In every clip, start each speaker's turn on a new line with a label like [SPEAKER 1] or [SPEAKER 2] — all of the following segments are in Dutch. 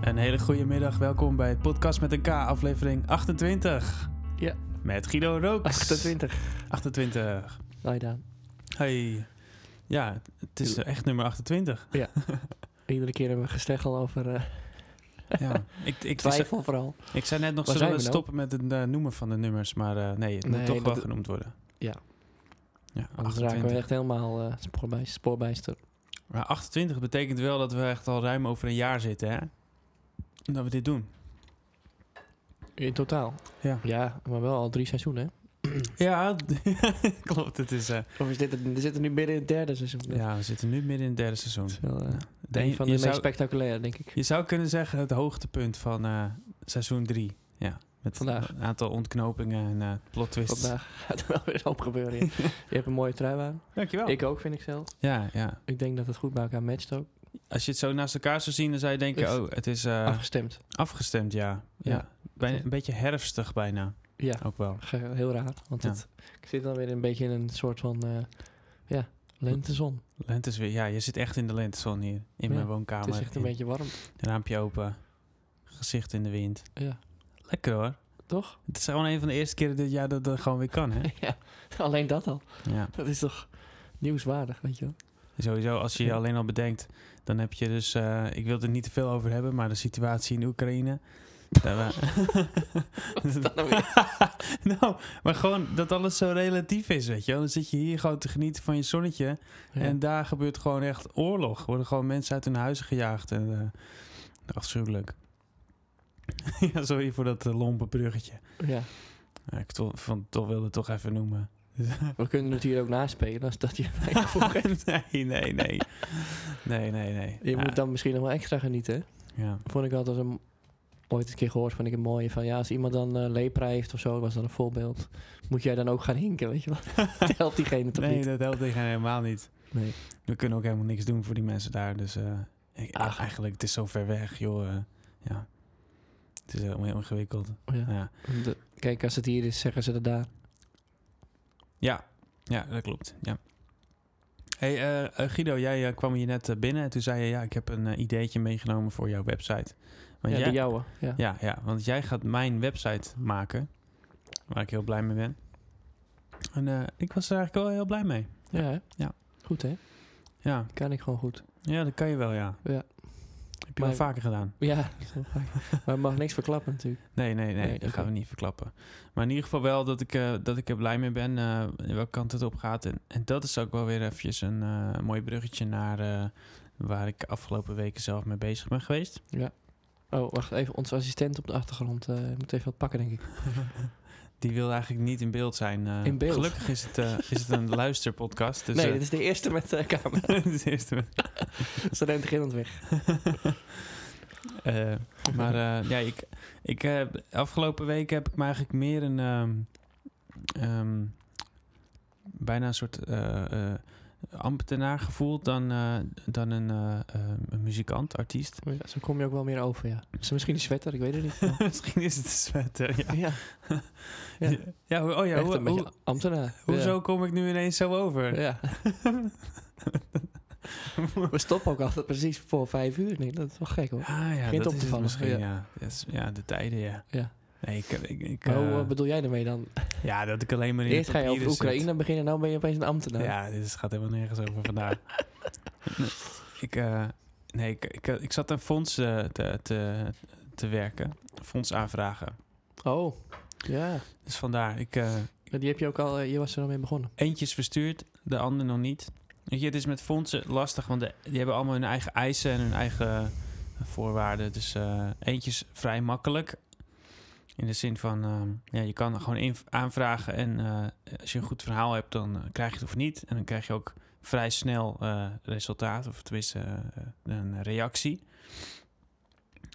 [SPEAKER 1] Een hele goede middag, welkom bij het podcast met een K, aflevering 28.
[SPEAKER 2] Ja.
[SPEAKER 1] Met Guido Rook.
[SPEAKER 2] 28.
[SPEAKER 1] 28.
[SPEAKER 2] Nou, Daan.
[SPEAKER 1] Hey. Ja, het is echt nummer 28.
[SPEAKER 2] Iedere keer hebben we gesteggel over eh,
[SPEAKER 1] Ja. ik, ik, ik,
[SPEAKER 2] twijfel vooral.
[SPEAKER 1] ik zei net nog,
[SPEAKER 2] Waar
[SPEAKER 1] zullen
[SPEAKER 2] zijn
[SPEAKER 1] we
[SPEAKER 2] we nou?
[SPEAKER 1] stoppen met het eh, noemen van de nummers, maar eh, nee, het moet
[SPEAKER 2] Nee,
[SPEAKER 1] toch wel
[SPEAKER 2] dat-
[SPEAKER 1] genoemd worden.
[SPEAKER 2] Ja.
[SPEAKER 1] Ja,
[SPEAKER 2] Anders raken
[SPEAKER 1] 28.
[SPEAKER 2] we echt helemaal eh spoorbijster. spoorbijster.
[SPEAKER 1] Maar 28 betekent wel dat we echt al ruim over een jaar zitten, hè? Dat we dit doen.
[SPEAKER 2] In totaal.
[SPEAKER 1] Ja.
[SPEAKER 2] Ja, maar wel al drie seizoenen, hè?
[SPEAKER 1] Ja, klopt. Het is, eh,
[SPEAKER 2] Of is dit het, we zitten nu midden in het derde seizoen.
[SPEAKER 1] ja, we zitten nu midden in het derde
[SPEAKER 2] Dat
[SPEAKER 1] seizoen.
[SPEAKER 2] is wel, eh,
[SPEAKER 1] De-
[SPEAKER 2] een van de
[SPEAKER 1] je
[SPEAKER 2] meest
[SPEAKER 1] zou-
[SPEAKER 2] spectaculaire, denk ik.
[SPEAKER 1] Je zou kunnen zeggen het hoogtepunt van eh, seizoen 3. Ja, met
[SPEAKER 2] Vandaag.
[SPEAKER 1] een aantal ontknopingen en eh plot twists.
[SPEAKER 2] Vandaag gaat er wel weer op gebeuren. ja. Je hebt een mooie trui aan.
[SPEAKER 1] Dankjewel.
[SPEAKER 2] Ik ook, vind ik zelf.
[SPEAKER 1] Ja, ja.
[SPEAKER 2] Ik denk dat het goed bij elkaar matcht ook.
[SPEAKER 1] Als je het zo naast elkaar zou zien, dan zou je
[SPEAKER 2] Is-
[SPEAKER 1] denken, oh, het is eh,
[SPEAKER 2] Afgestemd.
[SPEAKER 1] afgestemd, ja. ja.
[SPEAKER 2] Ja.
[SPEAKER 1] Bijna, een beetje herfstig bijna,
[SPEAKER 2] Ja,
[SPEAKER 1] ook wel.
[SPEAKER 2] ge- heel raar. Want
[SPEAKER 1] Ja.
[SPEAKER 2] het, ik zit dan weer een beetje in een soort van... eh, ja, lentezon.
[SPEAKER 1] Lente is weer, ja, je zit echt in de lentezon hier, in
[SPEAKER 2] Ja,
[SPEAKER 1] mijn
[SPEAKER 2] Het
[SPEAKER 1] woonkamer.
[SPEAKER 2] is echt een
[SPEAKER 1] In-
[SPEAKER 2] beetje warm.
[SPEAKER 1] Raampje open, gezicht in de wind.
[SPEAKER 2] Ja.
[SPEAKER 1] Lekker hoor.
[SPEAKER 2] Toch?
[SPEAKER 1] Het is gewoon een van de eerste keren dit jaar dat dat gewoon weer kan, hè?
[SPEAKER 2] Ja, alleen dat al.
[SPEAKER 1] Ja.
[SPEAKER 2] Dat is toch nieuwswaardig, weet je wel.
[SPEAKER 1] Sowieso, als je je
[SPEAKER 2] Ja.
[SPEAKER 1] alleen al bedenkt, dan heb je dus, eh, ik wil er niet te veel over hebben, maar de situatie in Oekraïne. Daar we- nou, maar gewoon dat alles zo relatief is, weet je wel. Dan zit je hier gewoon te genieten van je zonnetje en daar gebeurt gewoon echt oorlog. Worden gewoon mensen uit hun huizen gejaagd en eh, afschuwelijk. ja, sorry voor dat eh, lompe bruggetje.
[SPEAKER 2] ja,
[SPEAKER 1] Ja, ik to- van, toch wilde het toch even noemen.
[SPEAKER 2] we kunnen het hier ook naspelen als dat je fijn gevoel geeft.
[SPEAKER 1] nee, nee, nee. Nee, nee, nee.
[SPEAKER 2] Je
[SPEAKER 1] Ja,
[SPEAKER 2] moet dan misschien nog wel extra genieten. hè?
[SPEAKER 1] ja.
[SPEAKER 2] Vond ik altijd een, ooit een keer gehoord, vond ik een mooie van... Ja, als iemand dan eh, lepra heeft of zo, was dat een voorbeeld. Moet jij dan ook gaan hinken, weet je wel. Dat helpt diegene toch
[SPEAKER 1] nee,
[SPEAKER 2] niet?
[SPEAKER 1] dat helpt tegen hen helemaal niet.
[SPEAKER 2] Nee.
[SPEAKER 1] We kunnen ook helemaal niks doen voor die mensen daar. Dus eh, ik-
[SPEAKER 2] Ach.
[SPEAKER 1] eigenlijk, het is zo ver weg, joh. eh, ja. Het is helemaal heel ingewikkeld.
[SPEAKER 2] Ja.
[SPEAKER 1] Ja.
[SPEAKER 2] De- kijk, als het hier is, zeggen ze dat daar.
[SPEAKER 1] Ja. ja, dat klopt. Ja. Hey, eh, eh, Guido, jij eh, kwam hier net eh, binnen en toen zei je... ja, ik heb een eh, ideetje meegenomen voor jouw website. Want
[SPEAKER 2] ja,
[SPEAKER 1] jij,
[SPEAKER 2] de jouwe. Ja.
[SPEAKER 1] ja, ja, want jij gaat mijn website maken, waar ik heel blij mee ben. En eh, ik was er eigenlijk wel heel blij mee.
[SPEAKER 2] Ja, hè?
[SPEAKER 1] Ja.
[SPEAKER 2] Goed, hè?
[SPEAKER 1] Ja,
[SPEAKER 2] Kan ik gewoon goed.
[SPEAKER 1] ja dat kan je wel, ja.
[SPEAKER 2] Ja.
[SPEAKER 1] Heb je
[SPEAKER 2] Maar-
[SPEAKER 1] wel vaker gedaan.
[SPEAKER 2] Ja, dat is wel vaak. maar het mag niks verklappen natuurlijk.
[SPEAKER 1] Nee, nee, nee,
[SPEAKER 2] Nee,
[SPEAKER 1] dat
[SPEAKER 2] oké.
[SPEAKER 1] gaan we niet verklappen. Maar in ieder geval wel dat ik, eh, dat ik er blij mee ben eh, welke kant het op gaat. En, en dat is ook wel weer eventjes een eh, mooi bruggetje naar eh, waar ik afgelopen weken zelf mee bezig ben geweest.
[SPEAKER 2] Oh, wacht even. Onze assistent op de achtergrond eh, moet even wat pakken, denk ik.
[SPEAKER 1] Die wil eigenlijk niet in beeld zijn. eh.
[SPEAKER 2] In beeld?
[SPEAKER 1] Gelukkig is het, eh, is het een luisterpodcast. Dus,
[SPEAKER 2] nee,
[SPEAKER 1] eh,
[SPEAKER 2] dit is de eerste met de camera.
[SPEAKER 1] het is de eerste met-
[SPEAKER 2] Ze rent gillend weg.
[SPEAKER 1] Eh, maar eh, ja, ik, ik, eh, afgelopen week heb ik me eigenlijk meer een... ehm, ehm, bijna een soort eh, eh, ambtenaar gevoeld dan, eh, dan een, eh, eh, een muzikant, artiest.
[SPEAKER 2] Ja, zo kom je ook wel meer over, ja. Is het misschien een sweater? Ik weet het niet. maar-
[SPEAKER 1] Misschien is het een sweater, ja.
[SPEAKER 2] ja,
[SPEAKER 1] ja.
[SPEAKER 2] Ja.
[SPEAKER 1] hoe- oh ja,
[SPEAKER 2] echt
[SPEAKER 1] hoe,
[SPEAKER 2] een beetje
[SPEAKER 1] hoe-
[SPEAKER 2] ambtenaar.
[SPEAKER 1] hoezo kom ik nu ineens zo over?
[SPEAKER 2] Ja. Ja. We stoppen ook altijd precies voor vijf uur. Nee, dat is wel gek, hoor.
[SPEAKER 1] Ah ja,
[SPEAKER 2] Begint
[SPEAKER 1] dat
[SPEAKER 2] op te
[SPEAKER 1] is het
[SPEAKER 2] vallen,
[SPEAKER 1] misschien, ja.
[SPEAKER 2] ja.
[SPEAKER 1] Ja. Dat is- ja, de tijden, ja.
[SPEAKER 2] Ja.
[SPEAKER 1] Nee, ik, ik, ik,
[SPEAKER 2] Maar hoe
[SPEAKER 1] eh,
[SPEAKER 2] eh, bedoel jij daarmee dan?
[SPEAKER 1] ja, dat ik alleen maar in de
[SPEAKER 2] Eerst ga je over
[SPEAKER 1] papieren zit.
[SPEAKER 2] Oekraïne beginnen, nou ben je opeens een ambtenaar.
[SPEAKER 1] Ja, dit gaat helemaal nergens over vandaag. Nee, ik, eh, nee, ik, ik, ik zat een fonds eh, te, te, te werken. Fonds aanvragen.
[SPEAKER 2] Oh, ja.
[SPEAKER 1] Dus vandaar, ik eh,
[SPEAKER 2] Ja, Die heb je ook al, eh, je was er al mee begonnen.
[SPEAKER 1] eentje is verstuurd, de ander nog niet. Weet je, het is met fondsen lastig, want de- die hebben allemaal hun eigen eisen en hun eigen voorwaarden. Dus eh, eentje is vrij makkelijk. In de zin van, ehm, ja, je kan gewoon inv- aanvragen en eh, als je een goed verhaal hebt, dan eh, krijg je het of niet. En dan krijg je ook vrij snel eh, resultaat, of tenminste eh, een reactie.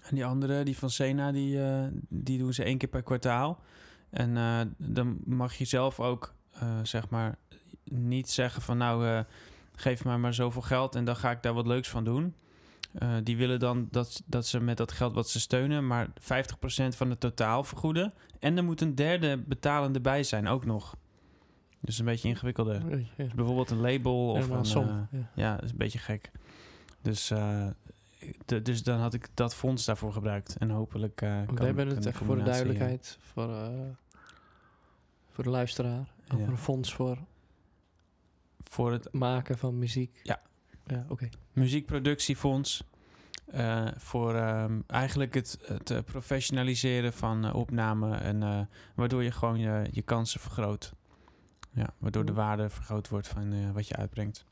[SPEAKER 1] En die andere, die van Sena, die, eh, die doen ze één keer per kwartaal. En eh, dan mag je zelf ook, eh, zeg maar, niet zeggen van nou, eh, geef mij maar zoveel geld en dan ga ik daar wat leuks van doen. Eh, die willen dan dat, dat ze met dat geld wat ze steunen, maar 50% van het totaal vergoeden. En er moet een derde betalende bij zijn, ook nog. Dus een beetje ingewikkelder.
[SPEAKER 2] Oei, ja.
[SPEAKER 1] Bijvoorbeeld een Dus eh, label of
[SPEAKER 2] Helemaal
[SPEAKER 1] een,
[SPEAKER 2] som.
[SPEAKER 1] eh,
[SPEAKER 2] ja.
[SPEAKER 1] ja, dat is een beetje gek. Dus eh, de- dus dan had ik dat fonds daarvoor gebruikt. En hopelijk eh kan
[SPEAKER 2] We hebben
[SPEAKER 1] kan
[SPEAKER 2] het
[SPEAKER 1] die
[SPEAKER 2] even voor de
[SPEAKER 1] combinatie, eh,
[SPEAKER 2] duidelijkheid, voor, eh, voor de luisteraar, over
[SPEAKER 1] Ja.
[SPEAKER 2] een fonds voor
[SPEAKER 1] voor het
[SPEAKER 2] maken van muziek.
[SPEAKER 1] Ja.
[SPEAKER 2] Ja, oké.
[SPEAKER 1] muziekproductiefonds. eh, voor ehm, eigenlijk het, het eh, professionaliseren van eh, opname. En, eh, waardoor je gewoon je, je kansen vergroot. Ja, waardoor de
[SPEAKER 2] Mhm.
[SPEAKER 1] waarde vergroot wordt van eh, wat je uitbrengt.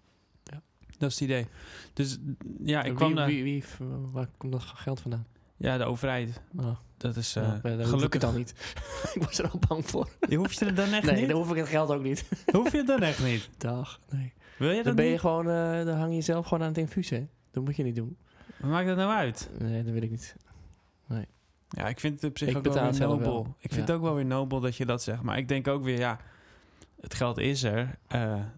[SPEAKER 2] Ja.
[SPEAKER 1] Dat is het idee. Dus ja, ik
[SPEAKER 2] En
[SPEAKER 1] kwam eh,
[SPEAKER 2] wie,
[SPEAKER 1] daar.
[SPEAKER 2] wie, wie, waar komt dat geld vandaan?
[SPEAKER 1] Ja, de overheid.
[SPEAKER 2] Oh,
[SPEAKER 1] Dat is eh,
[SPEAKER 2] ja, daar hoef ik
[SPEAKER 1] gelukkig.
[SPEAKER 2] het dan niet. ik was er al bang voor.
[SPEAKER 1] Je hoeft je het dan echt
[SPEAKER 2] nee,
[SPEAKER 1] niet?
[SPEAKER 2] dan hoef ik het geld ook niet.
[SPEAKER 1] Hoef je het dan echt niet?
[SPEAKER 2] Dag, nee.
[SPEAKER 1] Wil je dat
[SPEAKER 2] Dan ben je
[SPEAKER 1] niet?
[SPEAKER 2] gewoon, eh, dan hang je jezelf gewoon aan het infuus, hè. Dat moet je niet doen.
[SPEAKER 1] Wat maakt dat nou uit?
[SPEAKER 2] Nee, dat wil ik niet.
[SPEAKER 1] Ja, ik vind het op zich
[SPEAKER 2] Ik
[SPEAKER 1] ook wel
[SPEAKER 2] betaal
[SPEAKER 1] weer
[SPEAKER 2] het zelf
[SPEAKER 1] nobel.
[SPEAKER 2] wel.
[SPEAKER 1] Ik vind
[SPEAKER 2] Ja.
[SPEAKER 1] het ook wel weer nobel dat je dat zegt. Maar ik denk ook weer, ja, het geld is er. eh,
[SPEAKER 2] Ja,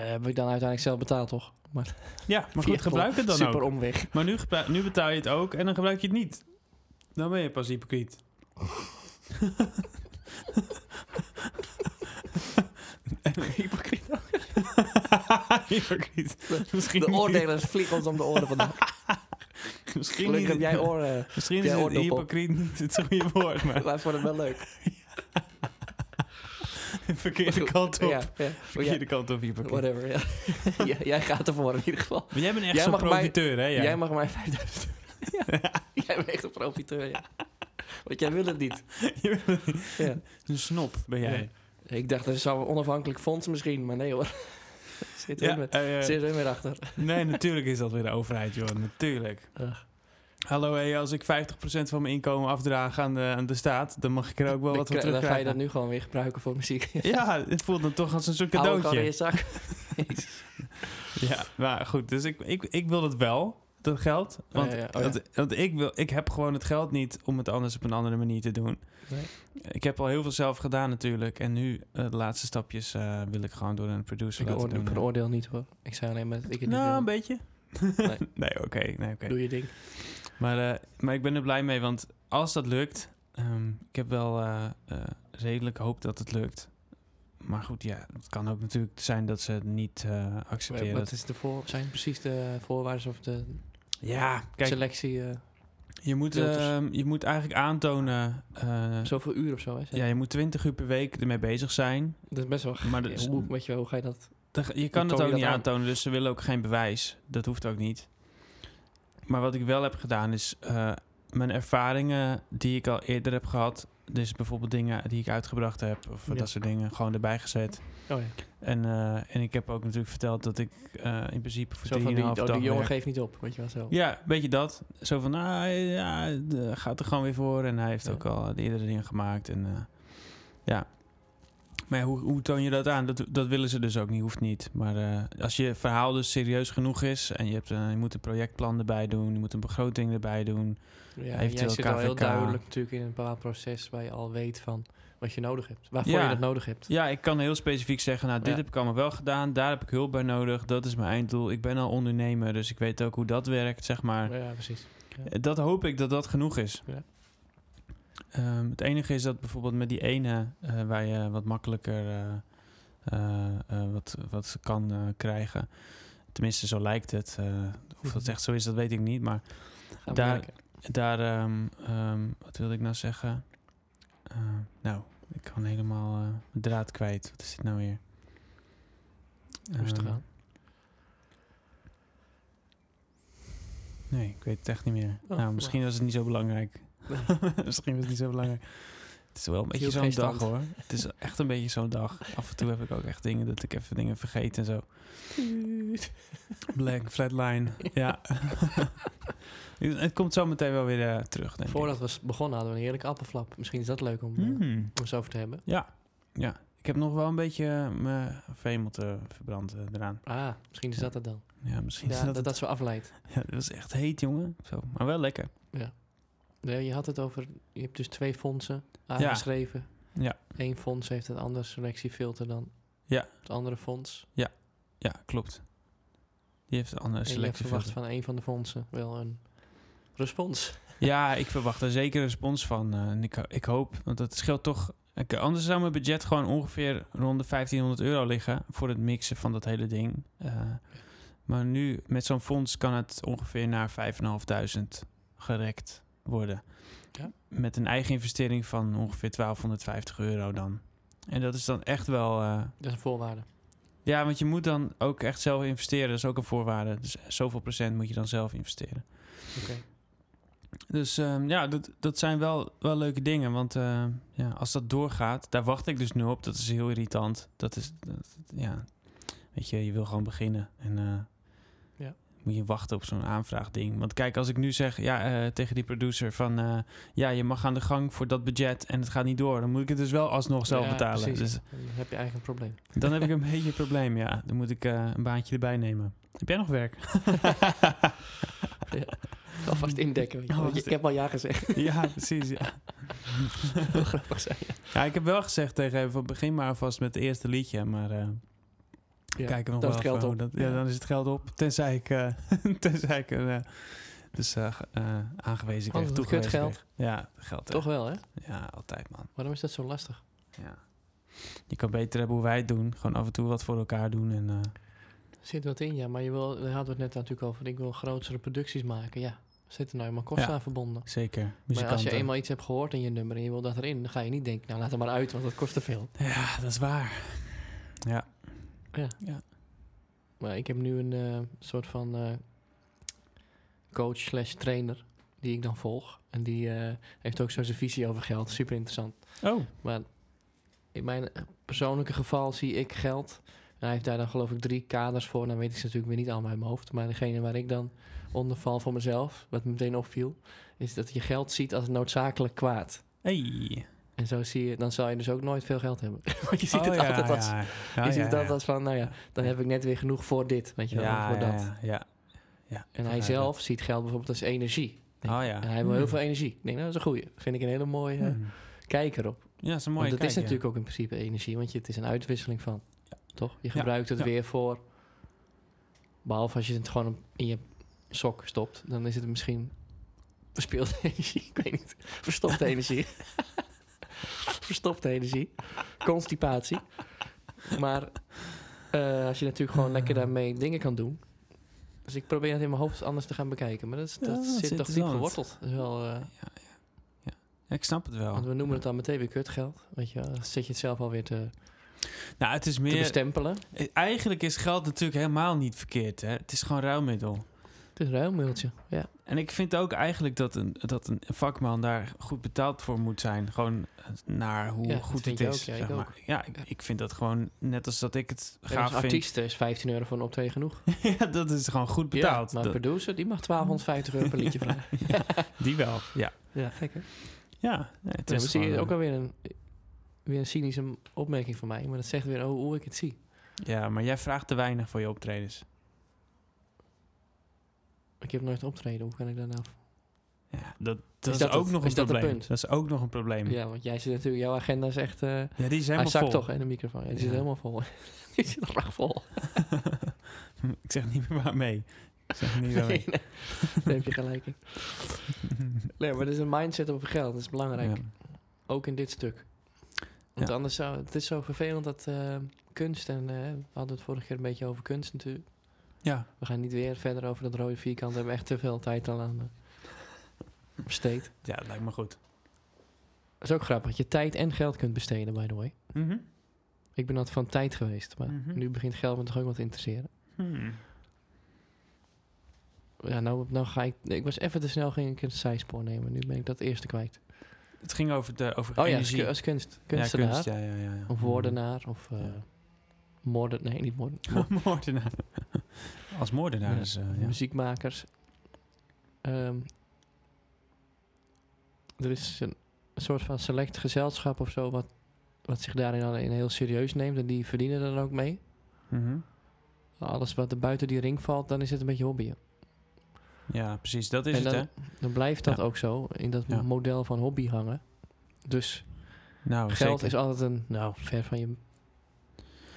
[SPEAKER 2] dat heb ik dan uiteindelijk zelf betaald, toch? Maar
[SPEAKER 1] ja, maar
[SPEAKER 2] via-
[SPEAKER 1] goed, gebruik het dan
[SPEAKER 2] Super
[SPEAKER 1] ook.
[SPEAKER 2] omweg.
[SPEAKER 1] Maar nu, gebru- nu betaal je het ook en dan gebruik je het niet. Dan ben je pas hypocriet.
[SPEAKER 2] Hypocriet.
[SPEAKER 1] hypocriet.
[SPEAKER 2] De-
[SPEAKER 1] Misschien,
[SPEAKER 2] De
[SPEAKER 1] niet.
[SPEAKER 2] oordelers vliegen ons om de oren vandaag.
[SPEAKER 1] misschien, niet,
[SPEAKER 2] Gelukkig heb jij oren.
[SPEAKER 1] misschien
[SPEAKER 2] jij
[SPEAKER 1] is het
[SPEAKER 2] oordoppel.
[SPEAKER 1] hypocriet niet het goede woord, maar
[SPEAKER 2] Maar voor het wel leuk.
[SPEAKER 1] verkeerde kant op.
[SPEAKER 2] Ja, ja.
[SPEAKER 1] Verkeerde kant op
[SPEAKER 2] Ja,
[SPEAKER 1] hypocriet.
[SPEAKER 2] whatever, ja. Jij- jij gaat ervoor in ieder geval.
[SPEAKER 1] Maar jij bent echt
[SPEAKER 2] Jij
[SPEAKER 1] zo'n
[SPEAKER 2] mag mij-
[SPEAKER 1] profiteur, hè?
[SPEAKER 2] Jij mag mij 5000 euro. Ja. jij bent echt een profiteur, ja. Want jij wil het niet.
[SPEAKER 1] Je bent
[SPEAKER 2] Ja.
[SPEAKER 1] Een snop ben jij.
[SPEAKER 2] Ik dacht, dat zou een onafhankelijk fonds misschien, maar nee hoor. Zit er
[SPEAKER 1] Ja,
[SPEAKER 2] weer-
[SPEAKER 1] eh, eh,
[SPEAKER 2] zit er weer achter.
[SPEAKER 1] nee, natuurlijk is dat weer de overheid, joh. Natuurlijk.
[SPEAKER 2] Ugh.
[SPEAKER 1] Hallo, hé, als ik 50% van mijn inkomen afdraag aan de, aan de staat, dan mag ik er ook wel
[SPEAKER 2] Dan
[SPEAKER 1] wat voor
[SPEAKER 2] kri- dan ga je
[SPEAKER 1] terugkrijgen.
[SPEAKER 2] dat nu gewoon weer gebruiken voor muziek.
[SPEAKER 1] Ja, het voelt dan toch als een soort
[SPEAKER 2] Hou ik al in je
[SPEAKER 1] cadeautje.
[SPEAKER 2] zak. Jezus.
[SPEAKER 1] Ja, maar goed, dus ik, ik, ik wil het wel, dat geld. Want,
[SPEAKER 2] ja, ja. Oh, ja.
[SPEAKER 1] want, want ik, wil, ik heb gewoon het geld niet om het anders op een andere manier te doen.
[SPEAKER 2] Nee.
[SPEAKER 1] Ik heb al heel veel zelf gedaan natuurlijk. En nu, eh, de laatste stapjes, eh, wil ik gewoon door een producer
[SPEAKER 2] Ik
[SPEAKER 1] laten
[SPEAKER 2] oor- ik
[SPEAKER 1] doen.
[SPEAKER 2] veroordeel niet hoor. Ik zei alleen maar, dat ik het niet
[SPEAKER 1] nou, een
[SPEAKER 2] wil.
[SPEAKER 1] beetje.
[SPEAKER 2] Nee.
[SPEAKER 1] Nee, oké. nee, oké.
[SPEAKER 2] Doe je ding.
[SPEAKER 1] Maar, eh, maar ik ben er blij mee, want als dat lukt... ehm, ik heb wel eh, eh, redelijk hoop dat het lukt. Maar goed, ja, het kan ook natuurlijk zijn dat ze het niet eh, accepteren.
[SPEAKER 2] Wat is de voor, zijn precies de voorwaarden of de
[SPEAKER 1] Ja, kijk,
[SPEAKER 2] selectie? eh,
[SPEAKER 1] je moet,
[SPEAKER 2] filters.
[SPEAKER 1] ehm, je moet eigenlijk aantonen... eh,
[SPEAKER 2] zoveel uur of zo. Hè,
[SPEAKER 1] ja, je moet 20 uur per week ermee bezig zijn.
[SPEAKER 2] Dat is best wel
[SPEAKER 1] Maar
[SPEAKER 2] maar
[SPEAKER 1] dat is-
[SPEAKER 2] hoe, weet je, wel, hoe ga je dat?
[SPEAKER 1] Dan ga- je kan
[SPEAKER 2] toon
[SPEAKER 1] het
[SPEAKER 2] je
[SPEAKER 1] ook
[SPEAKER 2] dat
[SPEAKER 1] niet
[SPEAKER 2] aan?
[SPEAKER 1] aantonen, dus ze willen ook geen bewijs. Dat hoeft ook niet. Maar wat ik wel heb gedaan is eh, mijn ervaringen die ik al eerder heb gehad. Dus bijvoorbeeld dingen die ik uitgebracht heb of
[SPEAKER 2] Ja.
[SPEAKER 1] dat soort dingen gewoon erbij gezet.
[SPEAKER 2] Oh ja.
[SPEAKER 1] En, eh, en ik heb ook natuurlijk verteld dat ik eh, in principe voor
[SPEAKER 2] Zo van die,
[SPEAKER 1] 3,5
[SPEAKER 2] oh, die
[SPEAKER 1] dag
[SPEAKER 2] jongen
[SPEAKER 1] werk.
[SPEAKER 2] geeft niet op, weet je wel zo.
[SPEAKER 1] Ja, weet je dat? Zo van, ah, ja, de- gaat er gewoon weer voor. En hij heeft
[SPEAKER 2] Ja.
[SPEAKER 1] ook al de eerdere dingen gemaakt. En eh, ja. Maar ja, hoe, hoe toon je dat aan? Dat, dat willen ze dus ook niet, hoeft niet. Maar eh, als je verhaal dus serieus genoeg is... en je, hebt, eh, je moet een projectplan erbij doen... je moet een begroting erbij doen...
[SPEAKER 2] Ja, jij
[SPEAKER 1] eventueel
[SPEAKER 2] zit al heel
[SPEAKER 1] KVK.
[SPEAKER 2] duidelijk natuurlijk in een bepaald proces waar je al weet van wat je nodig hebt. Waarvoor
[SPEAKER 1] Ja.
[SPEAKER 2] je dat nodig hebt.
[SPEAKER 1] Ja, ik kan heel specifiek zeggen... nou, dit
[SPEAKER 2] Ja.
[SPEAKER 1] heb ik allemaal wel gedaan... daar heb ik hulp bij nodig... dat is mijn einddoel. Ik ben al ondernemer, dus ik weet ook hoe dat werkt, zeg maar.
[SPEAKER 2] Ja, precies.
[SPEAKER 1] Eh, Dat hoop ik dat dat genoeg is.
[SPEAKER 2] Ja.
[SPEAKER 1] Ehm, het enige is dat bijvoorbeeld met die ene eh, waar je wat makkelijker eh, eh, eh, wat, wat kan eh, krijgen. Tenminste, zo lijkt het. eh, of
[SPEAKER 2] Mhm.
[SPEAKER 1] dat echt zo is, dat weet ik niet. Maar
[SPEAKER 2] Gaan we
[SPEAKER 1] Daar-
[SPEAKER 2] merken.
[SPEAKER 1] daar, ehm, ehm, wat wilde ik nou zeggen? Eh, nou, ik kan helemaal eh, mijn draad kwijt. Wat is dit nou weer?
[SPEAKER 2] Rustig
[SPEAKER 1] Ehm,
[SPEAKER 2] aan.
[SPEAKER 1] Nee, ik weet het echt niet meer.
[SPEAKER 2] Oh,
[SPEAKER 1] nou, misschien was het niet zo belangrijk. misschien was het niet zo belangrijk. Het is wel een beetje
[SPEAKER 2] hield
[SPEAKER 1] zo'n
[SPEAKER 2] geen
[SPEAKER 1] dag
[SPEAKER 2] stand.
[SPEAKER 1] hoor. Het is echt een beetje zo'n dag. Af en toe heb ik ook echt dingen dat ik even dingen vergeet en zo.
[SPEAKER 2] Tuut.
[SPEAKER 1] Black, flatline. Ja. het komt zo meteen wel weer eh, terug, denk
[SPEAKER 2] Voordat we s- begonnen hadden we een heerlijke appelflap. Misschien is dat leuk om,
[SPEAKER 1] ik.
[SPEAKER 2] eh,
[SPEAKER 1] Hmm.
[SPEAKER 2] om eens over te hebben.
[SPEAKER 1] Ja, ik heb nog wel een beetje eh, mijn vemel te verbranden eh, eraan.
[SPEAKER 2] Ah, misschien is dat het dan.
[SPEAKER 1] Ja, misschien is
[SPEAKER 2] Ja,
[SPEAKER 1] dat,
[SPEAKER 2] dat
[SPEAKER 1] het.
[SPEAKER 2] dat zo afleidt.
[SPEAKER 1] Ja, dat was echt heet, jongen. Zo, maar wel lekker.
[SPEAKER 2] Nee, je had het over, je hebt dus twee fondsen aangeschreven.
[SPEAKER 1] Ja.
[SPEAKER 2] Eén fonds heeft een ander selectiefilter dan
[SPEAKER 1] Ja.
[SPEAKER 2] het andere fonds.
[SPEAKER 1] Ja, klopt. Die heeft een andere
[SPEAKER 2] En je
[SPEAKER 1] selectie.
[SPEAKER 2] verwacht van een van de fondsen wel een respons.
[SPEAKER 1] Ja, ik verwacht er zeker een respons van. eh, en ik, ho- ik hoop, want dat scheelt toch... ik- anders zou mijn budget gewoon ongeveer rond de 1500 euro liggen... voor het mixen van dat hele ding. Eh, Maar nu, met zo'n fonds, kan het ongeveer naar 5.500 gerekt worden.
[SPEAKER 2] Ja.
[SPEAKER 1] Met een eigen investering van ongeveer 1250 euro dan. En dat is dan echt wel... eh,
[SPEAKER 2] Dat is een voorwaarde.
[SPEAKER 1] ja, want je moet dan ook echt zelf investeren. Dat is ook een voorwaarde. Dus zoveel procent moet je dan zelf investeren.
[SPEAKER 2] Oké.
[SPEAKER 1] Dus ehm, ja, dat, dat zijn wel, wel leuke dingen. Want eh, ja, als dat doorgaat, daar wacht ik dus nu op. Dat is heel irritant. Dat is, dat- ja, weet je, je wil gewoon beginnen. En eh,
[SPEAKER 2] Ja.
[SPEAKER 1] moet je wachten op zo'n aanvraagding. Want kijk, als ik nu zeg ja, eh, tegen die producer van... eh, ja, je mag aan de gang voor dat budget en het gaat niet door. Dan moet ik het dus wel alsnog zelf
[SPEAKER 2] Ja,
[SPEAKER 1] betalen.
[SPEAKER 2] precies.
[SPEAKER 1] Dus
[SPEAKER 2] Dan heb je eigen probleem.
[SPEAKER 1] dan heb ik een beetje een probleem, ja. Dan moet ik eh, een baantje erbij nemen. Heb jij nog werk?
[SPEAKER 2] Alvast indekken. Weet je. wel.
[SPEAKER 1] Alvast-
[SPEAKER 2] ik heb al ja gezegd.
[SPEAKER 1] ja, precies, ja.
[SPEAKER 2] Heel grappig zijn.
[SPEAKER 1] Ja, ik heb wel gezegd tegen hem, van begin maar alvast met het eerste liedje, maar eh
[SPEAKER 2] Ja,
[SPEAKER 1] kijken we nog
[SPEAKER 2] dan
[SPEAKER 1] wel
[SPEAKER 2] is het geld
[SPEAKER 1] even
[SPEAKER 2] op.
[SPEAKER 1] hoe Dat, ja,
[SPEAKER 2] Ja.
[SPEAKER 1] dan is het geld op, tenzij ik, eh, tenzij ik een, eh, dus eh, ge- eh, aangewezen kreeg,
[SPEAKER 2] Altijd dat
[SPEAKER 1] toegewezen
[SPEAKER 2] kutgeld.
[SPEAKER 1] kreeg. Ja, geld. hè.
[SPEAKER 2] Oh, Toch wel, hè?
[SPEAKER 1] Ja, altijd man.
[SPEAKER 2] Waarom is dat zo lastig?
[SPEAKER 1] Ja. Je kan beter hebben hoe wij het doen, gewoon af en toe wat voor elkaar doen en eh,
[SPEAKER 2] Er zit wat in, ja. Maar je wil, daar hadden we het net natuurlijk over. Ik wil grotere producties maken, ja. Zit er nou helemaal kosten
[SPEAKER 1] Ja.
[SPEAKER 2] aan verbonden.
[SPEAKER 1] zeker
[SPEAKER 2] Maar als
[SPEAKER 1] muzikanten.
[SPEAKER 2] je eenmaal iets hebt gehoord in je nummer en je wil dat erin, dan ga je niet denken, nou laat het maar uit, want dat kost te veel.
[SPEAKER 1] Ja, dat is waar.
[SPEAKER 2] Maar ik heb nu een eh, soort van eh, coach slash trainer die ik dan volg. En die eh, heeft ook zo zijn visie over geld. Super interessant.
[SPEAKER 1] Oh,
[SPEAKER 2] Maar in mijn persoonlijke geval zie ik geld. En hij heeft daar dan geloof ik drie kaders voor. Dan weet ik ze natuurlijk weer niet allemaal uit mijn hoofd. Maar degene waar ik dan onder val voor mezelf, wat me meteen opviel, is dat je geld ziet als noodzakelijk kwaad.
[SPEAKER 1] hey.
[SPEAKER 2] En zo zie je, dan zal je dus ook nooit veel geld hebben. Want je ziet
[SPEAKER 1] Oh,
[SPEAKER 2] het
[SPEAKER 1] ja,
[SPEAKER 2] altijd als,
[SPEAKER 1] ja.
[SPEAKER 2] je
[SPEAKER 1] Ja,
[SPEAKER 2] ziet
[SPEAKER 1] ja,
[SPEAKER 2] het altijd
[SPEAKER 1] ja.
[SPEAKER 2] als van, nou ja, dan heb ik net weer genoeg voor dit, weet je wel,
[SPEAKER 1] ja,
[SPEAKER 2] voor
[SPEAKER 1] ja,
[SPEAKER 2] dat.
[SPEAKER 1] ja, ja. Ja, ik
[SPEAKER 2] En hij
[SPEAKER 1] begrijp
[SPEAKER 2] zelf ziet geld bijvoorbeeld als energie.
[SPEAKER 1] dat. Oh ja.
[SPEAKER 2] En hij wil heel veel energie. Ik denk, nou, dat is een goeie. Vind ik een hele mooie eh,
[SPEAKER 1] Hmm.
[SPEAKER 2] kijk erop.
[SPEAKER 1] Ja, dat is een mooie
[SPEAKER 2] Want
[SPEAKER 1] kijk,
[SPEAKER 2] dat is
[SPEAKER 1] ja.
[SPEAKER 2] natuurlijk ook in principe energie, want je, het is een uitwisseling van. Toch? Je
[SPEAKER 1] Ja,
[SPEAKER 2] gebruikt het
[SPEAKER 1] ja.
[SPEAKER 2] weer voor. Behalve als je het gewoon in je sok stopt, dan is het misschien verspilde energie. Ik weet niet. Verstopte energie. Verstopte energie. Constipatie. Maar eh, als je natuurlijk
[SPEAKER 1] Ah.
[SPEAKER 2] gewoon lekker daarmee dingen kan doen. Dus ik probeer het in mijn hoofd anders te gaan bekijken. Maar dat, is-
[SPEAKER 1] Ja,
[SPEAKER 2] dat
[SPEAKER 1] dat is
[SPEAKER 2] zit toch diep
[SPEAKER 1] interessant.
[SPEAKER 2] geworteld. Dat is wel, eh,
[SPEAKER 1] Ik snap het wel.
[SPEAKER 2] want we noemen het dan meteen weer kutgeld. Weet je, wel. dan zit je het zelf alweer te,
[SPEAKER 1] Nou, het is
[SPEAKER 2] te
[SPEAKER 1] meer. eh,
[SPEAKER 2] bestempelen.
[SPEAKER 1] Eigenlijk is geld natuurlijk helemaal niet verkeerd. Hè? Het is gewoon ruilmiddel.
[SPEAKER 2] Het is een ruilmiddeltje. Ja.
[SPEAKER 1] En ik vind ook eigenlijk dat een, dat een vakman daar goed betaald voor moet zijn. Gewoon eh, naar hoe
[SPEAKER 2] Ja, dat
[SPEAKER 1] goed
[SPEAKER 2] vind
[SPEAKER 1] het
[SPEAKER 2] je
[SPEAKER 1] is.
[SPEAKER 2] ook, ja, ik
[SPEAKER 1] zeg
[SPEAKER 2] ook.
[SPEAKER 1] maar. ja ik, ik vind dat gewoon net als dat ik het
[SPEAKER 2] En als
[SPEAKER 1] gaaf vind.
[SPEAKER 2] artiest dus is 15 euro voor een optreden genoeg.
[SPEAKER 1] ja, dat is gewoon goed betaald.
[SPEAKER 2] Ja, maar
[SPEAKER 1] Dat-
[SPEAKER 2] een producer, die mag 1250 euro per liedje vragen.
[SPEAKER 1] die wel. Ja,
[SPEAKER 2] Ja, gek hè?
[SPEAKER 1] ja nee, het
[SPEAKER 2] Ja,
[SPEAKER 1] is
[SPEAKER 2] maar zie je
[SPEAKER 1] gewoon,
[SPEAKER 2] ook alweer een, weer een cynische opmerking van mij. Maar dat zegt weer oh, hoe ik het zie.
[SPEAKER 1] ja, maar jij vraagt te weinig voor je optredens.
[SPEAKER 2] Ik heb nooit optreden, hoe kan ik daar nou...
[SPEAKER 1] Ja, dat,
[SPEAKER 2] Is
[SPEAKER 1] dat is,
[SPEAKER 2] dat
[SPEAKER 1] ook
[SPEAKER 2] het?
[SPEAKER 1] nog een
[SPEAKER 2] Is dat het
[SPEAKER 1] probleem.
[SPEAKER 2] punt?
[SPEAKER 1] is ook nog een probleem. Ja,
[SPEAKER 2] Ja, want jij zit natuurlijk... Jouw agenda is echt... eh,
[SPEAKER 1] die is
[SPEAKER 2] hij
[SPEAKER 1] helemaal
[SPEAKER 2] zakt
[SPEAKER 1] vol.
[SPEAKER 2] toch, hè, de microfoon. Ja, die zit
[SPEAKER 1] Ja.
[SPEAKER 2] helemaal vol. die zit graag vol.
[SPEAKER 1] ik zeg niet meer waarmee. Ik zeg niet waarmee.
[SPEAKER 2] Nee, nee. Daar heb je gelijk in. Nee, maar het is een mindset over geld. Dat is belangrijk.
[SPEAKER 1] Ja.
[SPEAKER 2] Ook in dit stuk. Want
[SPEAKER 1] Ja.
[SPEAKER 2] anders zou... Het is zo vervelend dat eh, kunst en... eh, we hadden het vorige keer een beetje over kunst natuurlijk.
[SPEAKER 1] Ja,
[SPEAKER 2] We gaan niet weer verder over dat rode vierkant. We hebben echt te veel tijd al aan eh, besteed.
[SPEAKER 1] ja, dat lijkt me goed.
[SPEAKER 2] Dat is ook grappig. Dat je tijd en geld kunt besteden, by the way. Ik ben altijd van tijd geweest. Maar
[SPEAKER 1] Mhm. Hmm.
[SPEAKER 2] nu begint geld me toch ook wat te interesseren. Ja, nou, nou ga ik... Ik was even te snel, ging ik een zijspoor nemen. Nu ben ik dat eerste kwijt.
[SPEAKER 1] Het ging over, de, over
[SPEAKER 2] Oh ja, als,
[SPEAKER 1] energie.
[SPEAKER 2] ku- als kunst. Kunstenaar.
[SPEAKER 1] Ja, kunst, ja, ja, ja, ja.
[SPEAKER 2] Of woordenaar. Of eh
[SPEAKER 1] Ja.
[SPEAKER 2] moorden... Nee, niet moorden.
[SPEAKER 1] Mo- Mhm. moordenaar. Als moordenaar
[SPEAKER 2] Ja.
[SPEAKER 1] is... eh, ja.
[SPEAKER 2] muziekmakers. Ehm, er is een soort van select gezelschap of zo, wat, wat zich daarin alleen heel serieus neemt. En die verdienen er dan ook mee.
[SPEAKER 1] Mhm.
[SPEAKER 2] Alles wat er buiten die ring valt, dan is het een beetje hobbyen.
[SPEAKER 1] ja, precies. Dat is
[SPEAKER 2] en dan,
[SPEAKER 1] het,
[SPEAKER 2] dan blijft dat
[SPEAKER 1] Ja.
[SPEAKER 2] ook zo, in dat
[SPEAKER 1] Ja.
[SPEAKER 2] model van hobby hangen. Dus
[SPEAKER 1] hè? Nou,
[SPEAKER 2] geld
[SPEAKER 1] zeker.
[SPEAKER 2] is altijd een, nou, ver van je...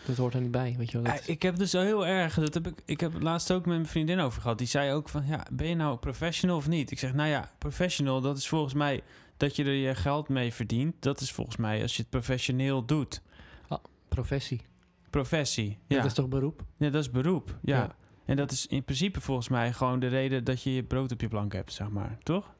[SPEAKER 2] Dat hoort er niet bij, weet je wel. Dat,
[SPEAKER 1] Eh, Ik heb dus al heel erg, dat heb ik, ik heb het laatst ook met mijn vriendin over gehad. Die zei ook van, ja, ben je nou professional of niet? Ik zeg, nou ja, professional, dat is volgens mij dat je er je geld mee verdient. Dat is volgens mij als je het professioneel doet.
[SPEAKER 2] professie.
[SPEAKER 1] Professie. Ja,
[SPEAKER 2] Dat is toch beroep?
[SPEAKER 1] Ja, dat is beroep. Ja.
[SPEAKER 2] Ja.
[SPEAKER 1] En dat is in principe volgens mij gewoon de reden dat je je brood op je plank hebt, zeg maar. Toch?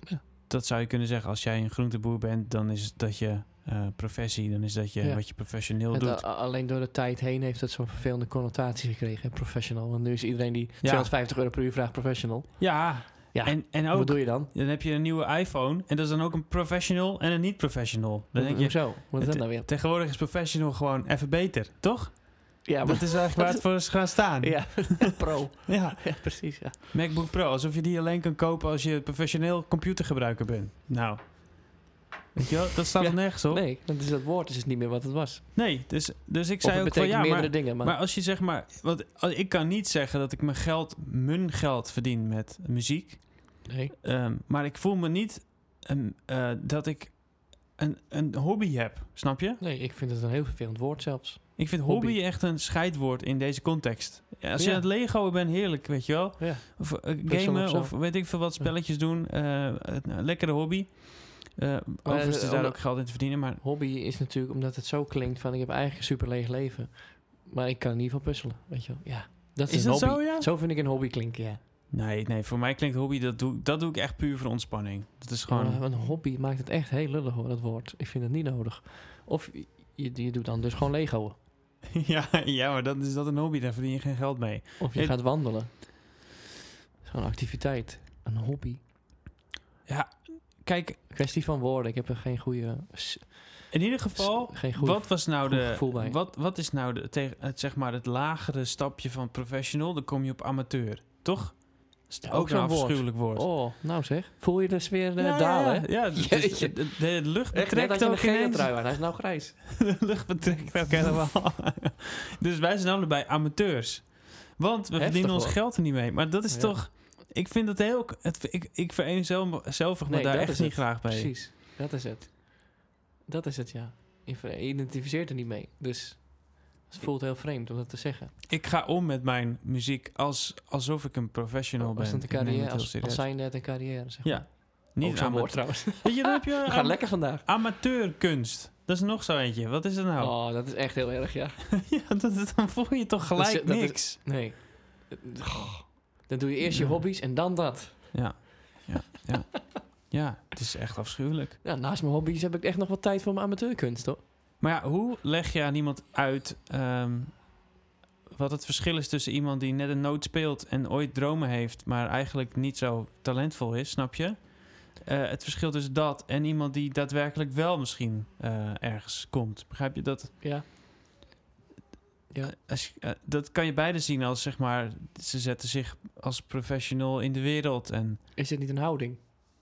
[SPEAKER 2] Ja.
[SPEAKER 1] Dat zou je kunnen zeggen. Als jij een groenteboer bent, dan is het dat je eh, professie. Dan is dat je
[SPEAKER 2] Ja.
[SPEAKER 1] wat je professioneel
[SPEAKER 2] Het,
[SPEAKER 1] doet.
[SPEAKER 2] a- alleen door de tijd heen heeft dat zo'n vervelende connotatie gekregen, hè, professional. Want nu is iedereen die 250 euro per uur vraagt professional.
[SPEAKER 1] ja.
[SPEAKER 2] Ja,
[SPEAKER 1] En, en
[SPEAKER 2] Wat
[SPEAKER 1] ook,
[SPEAKER 2] doe je dan?
[SPEAKER 1] dan heb je een nieuwe iPhone. En dat is dan ook een professional en een niet-professional. Dan denk je,
[SPEAKER 2] Hoezo? Wat is
[SPEAKER 1] het-
[SPEAKER 2] dat nou weer?
[SPEAKER 1] tegenwoordig is professional gewoon even beter, toch?
[SPEAKER 2] Ja,
[SPEAKER 1] dat
[SPEAKER 2] maar,
[SPEAKER 1] is eigenlijk waar het voor is gaan staan.
[SPEAKER 2] ja, pro.
[SPEAKER 1] ja.
[SPEAKER 2] Ja, precies, ja.
[SPEAKER 1] MacBook Pro, alsof je die alleen kan kopen als je professioneel computergebruiker bent. Nou, weet je wel, dat staat
[SPEAKER 2] Ja.
[SPEAKER 1] er nergens op. Nee,
[SPEAKER 2] Nee, dat, is dat woord is het niet meer wat het was.
[SPEAKER 1] dus, dus ik zei
[SPEAKER 2] Of het
[SPEAKER 1] ook van
[SPEAKER 2] betekent
[SPEAKER 1] ja,
[SPEAKER 2] meerdere
[SPEAKER 1] maar,
[SPEAKER 2] dingen, maar,
[SPEAKER 1] maar als je zeg maar, want als- ik kan niet zeggen dat ik mijn geld, mijn geld verdien met muziek,
[SPEAKER 2] nee.
[SPEAKER 1] Ehm, maar ik voel me niet ehm, eh, dat ik een, een hobby heb, snap je?
[SPEAKER 2] nee, ik vind het een heel vervelend woord zelfs.
[SPEAKER 1] Ik vind hobby,
[SPEAKER 2] Hobby.
[SPEAKER 1] echt een scheidwoord in deze context. Ja, Als je
[SPEAKER 2] Ja.
[SPEAKER 1] aan het Lego bent, heerlijk, weet je wel.
[SPEAKER 2] Ja.
[SPEAKER 1] Of eh,
[SPEAKER 2] Puzzel
[SPEAKER 1] gamen
[SPEAKER 2] of
[SPEAKER 1] of,
[SPEAKER 2] zo.
[SPEAKER 1] weet ik veel wat, spelletjes doen. eh, een- een lekkere hobby. Eh, overigens
[SPEAKER 2] eh,
[SPEAKER 1] is daar
[SPEAKER 2] om-
[SPEAKER 1] ook geld in te verdienen, maar
[SPEAKER 2] Hobby is natuurlijk, omdat het zo klinkt van ik heb eigenlijk een superleeg leven. Maar ik kan in ieder geval puzzelen, weet je wel. Ja, dat is,
[SPEAKER 1] is
[SPEAKER 2] een
[SPEAKER 1] dat
[SPEAKER 2] hobby.
[SPEAKER 1] zo, ja?
[SPEAKER 2] Zo vind ik een hobby klinken, ja.
[SPEAKER 1] Nee, nee, voor mij klinkt hobby, dat doe, dat doe ik echt puur voor ontspanning. Dat is gewoon...
[SPEAKER 2] Ja, maar een hobby maakt het echt heel lullig hoor, dat woord. Ik vind het niet nodig. Of je, je doet dan dus gewoon Lego.
[SPEAKER 1] Ja, ja, maar dat is dat een hobby, daar verdien je geen geld mee.
[SPEAKER 2] Of je
[SPEAKER 1] Het-
[SPEAKER 2] gaat wandelen. Dat is gewoon een activiteit. Een hobby.
[SPEAKER 1] Kijk,
[SPEAKER 2] Kwestie van woorden. Ik heb er geen goede... s-
[SPEAKER 1] in ieder
[SPEAKER 2] s-
[SPEAKER 1] geval,
[SPEAKER 2] geen goede
[SPEAKER 1] wat was nou
[SPEAKER 2] goed
[SPEAKER 1] de...
[SPEAKER 2] gevoel bij.
[SPEAKER 1] Wat, wat is nou de, tegen- het, zeg maar het lagere stapje van professional? Dan kom je op amateur, toch? Dat is
[SPEAKER 2] Ja, ook
[SPEAKER 1] ook een
[SPEAKER 2] zo'n woord.
[SPEAKER 1] afschuwelijk woord.
[SPEAKER 2] Oh, nou zeg. Voel je dus weer eh,
[SPEAKER 1] ja,
[SPEAKER 2] dalen, hè?
[SPEAKER 1] ja, ja, dus de,
[SPEAKER 2] Jeetje.
[SPEAKER 1] de- de lucht
[SPEAKER 2] Echt net
[SPEAKER 1] betrekt
[SPEAKER 2] had je een
[SPEAKER 1] ook
[SPEAKER 2] gele
[SPEAKER 1] ineens.
[SPEAKER 2] trui aan. Hij is nou grijs.
[SPEAKER 1] De lucht betrekt ook helemaal. dus wij zijn allebei amateurs. Want we
[SPEAKER 2] Heftig,
[SPEAKER 1] verdienen ons
[SPEAKER 2] hoor.
[SPEAKER 1] geld er niet mee. Maar dat is
[SPEAKER 2] Ja.
[SPEAKER 1] toch... Ik vind dat heel... Het, ik, ik vereenzelvig me
[SPEAKER 2] Nee,
[SPEAKER 1] daar
[SPEAKER 2] dat
[SPEAKER 1] echt
[SPEAKER 2] is
[SPEAKER 1] niet
[SPEAKER 2] het.
[SPEAKER 1] graag bij.
[SPEAKER 2] Precies. Dat is het. Dat is het, ja. Je ver- je identificeert er niet mee. Dus het voelt heel vreemd om dat te zeggen.
[SPEAKER 1] Ik ga om met mijn muziek als, alsof ik een professional ben.
[SPEAKER 2] Oh, als, het een
[SPEAKER 1] Ik neem het
[SPEAKER 2] carrière,
[SPEAKER 1] heel
[SPEAKER 2] als, als
[SPEAKER 1] serieus.
[SPEAKER 2] zijnde het een carrière, zeg
[SPEAKER 1] Ja,
[SPEAKER 2] maar. Ook
[SPEAKER 1] Niet
[SPEAKER 2] zo'n
[SPEAKER 1] amateur.
[SPEAKER 2] woord trouwens.
[SPEAKER 1] Weet je, dan heb je
[SPEAKER 2] We gaan
[SPEAKER 1] am-
[SPEAKER 2] lekker vandaag.
[SPEAKER 1] amateurkunst. Dat is nog zo eentje. Wat is dat nou?
[SPEAKER 2] Oh, dat is echt heel erg, ja.
[SPEAKER 1] ja, dat, dat- dan voel je toch gelijk
[SPEAKER 2] Oh. Dat is- dat is-
[SPEAKER 1] niks.
[SPEAKER 2] Nee. Goh. Dan doe je eerst je hobby's en dan dat.
[SPEAKER 1] Ja, ja, ja. ja, het is echt afschuwelijk.
[SPEAKER 2] Ja, naast mijn hobby's heb ik echt nog wat tijd voor mijn amateurkunst, hoor.
[SPEAKER 1] Maar ja, hoe leg je aan iemand uit ehm, wat het verschil is tussen iemand die net een noot speelt en ooit dromen heeft, maar eigenlijk niet zo talentvol is, snap je? Eh, het verschil tussen dat en iemand die daadwerkelijk wel misschien eh, ergens komt. Begrijp je dat?
[SPEAKER 2] Ja. Ja.
[SPEAKER 1] Als je- eh, dat kan je beide zien als zeg maar, ze zetten zich als professional in de wereld. En
[SPEAKER 2] Is dit niet een houding?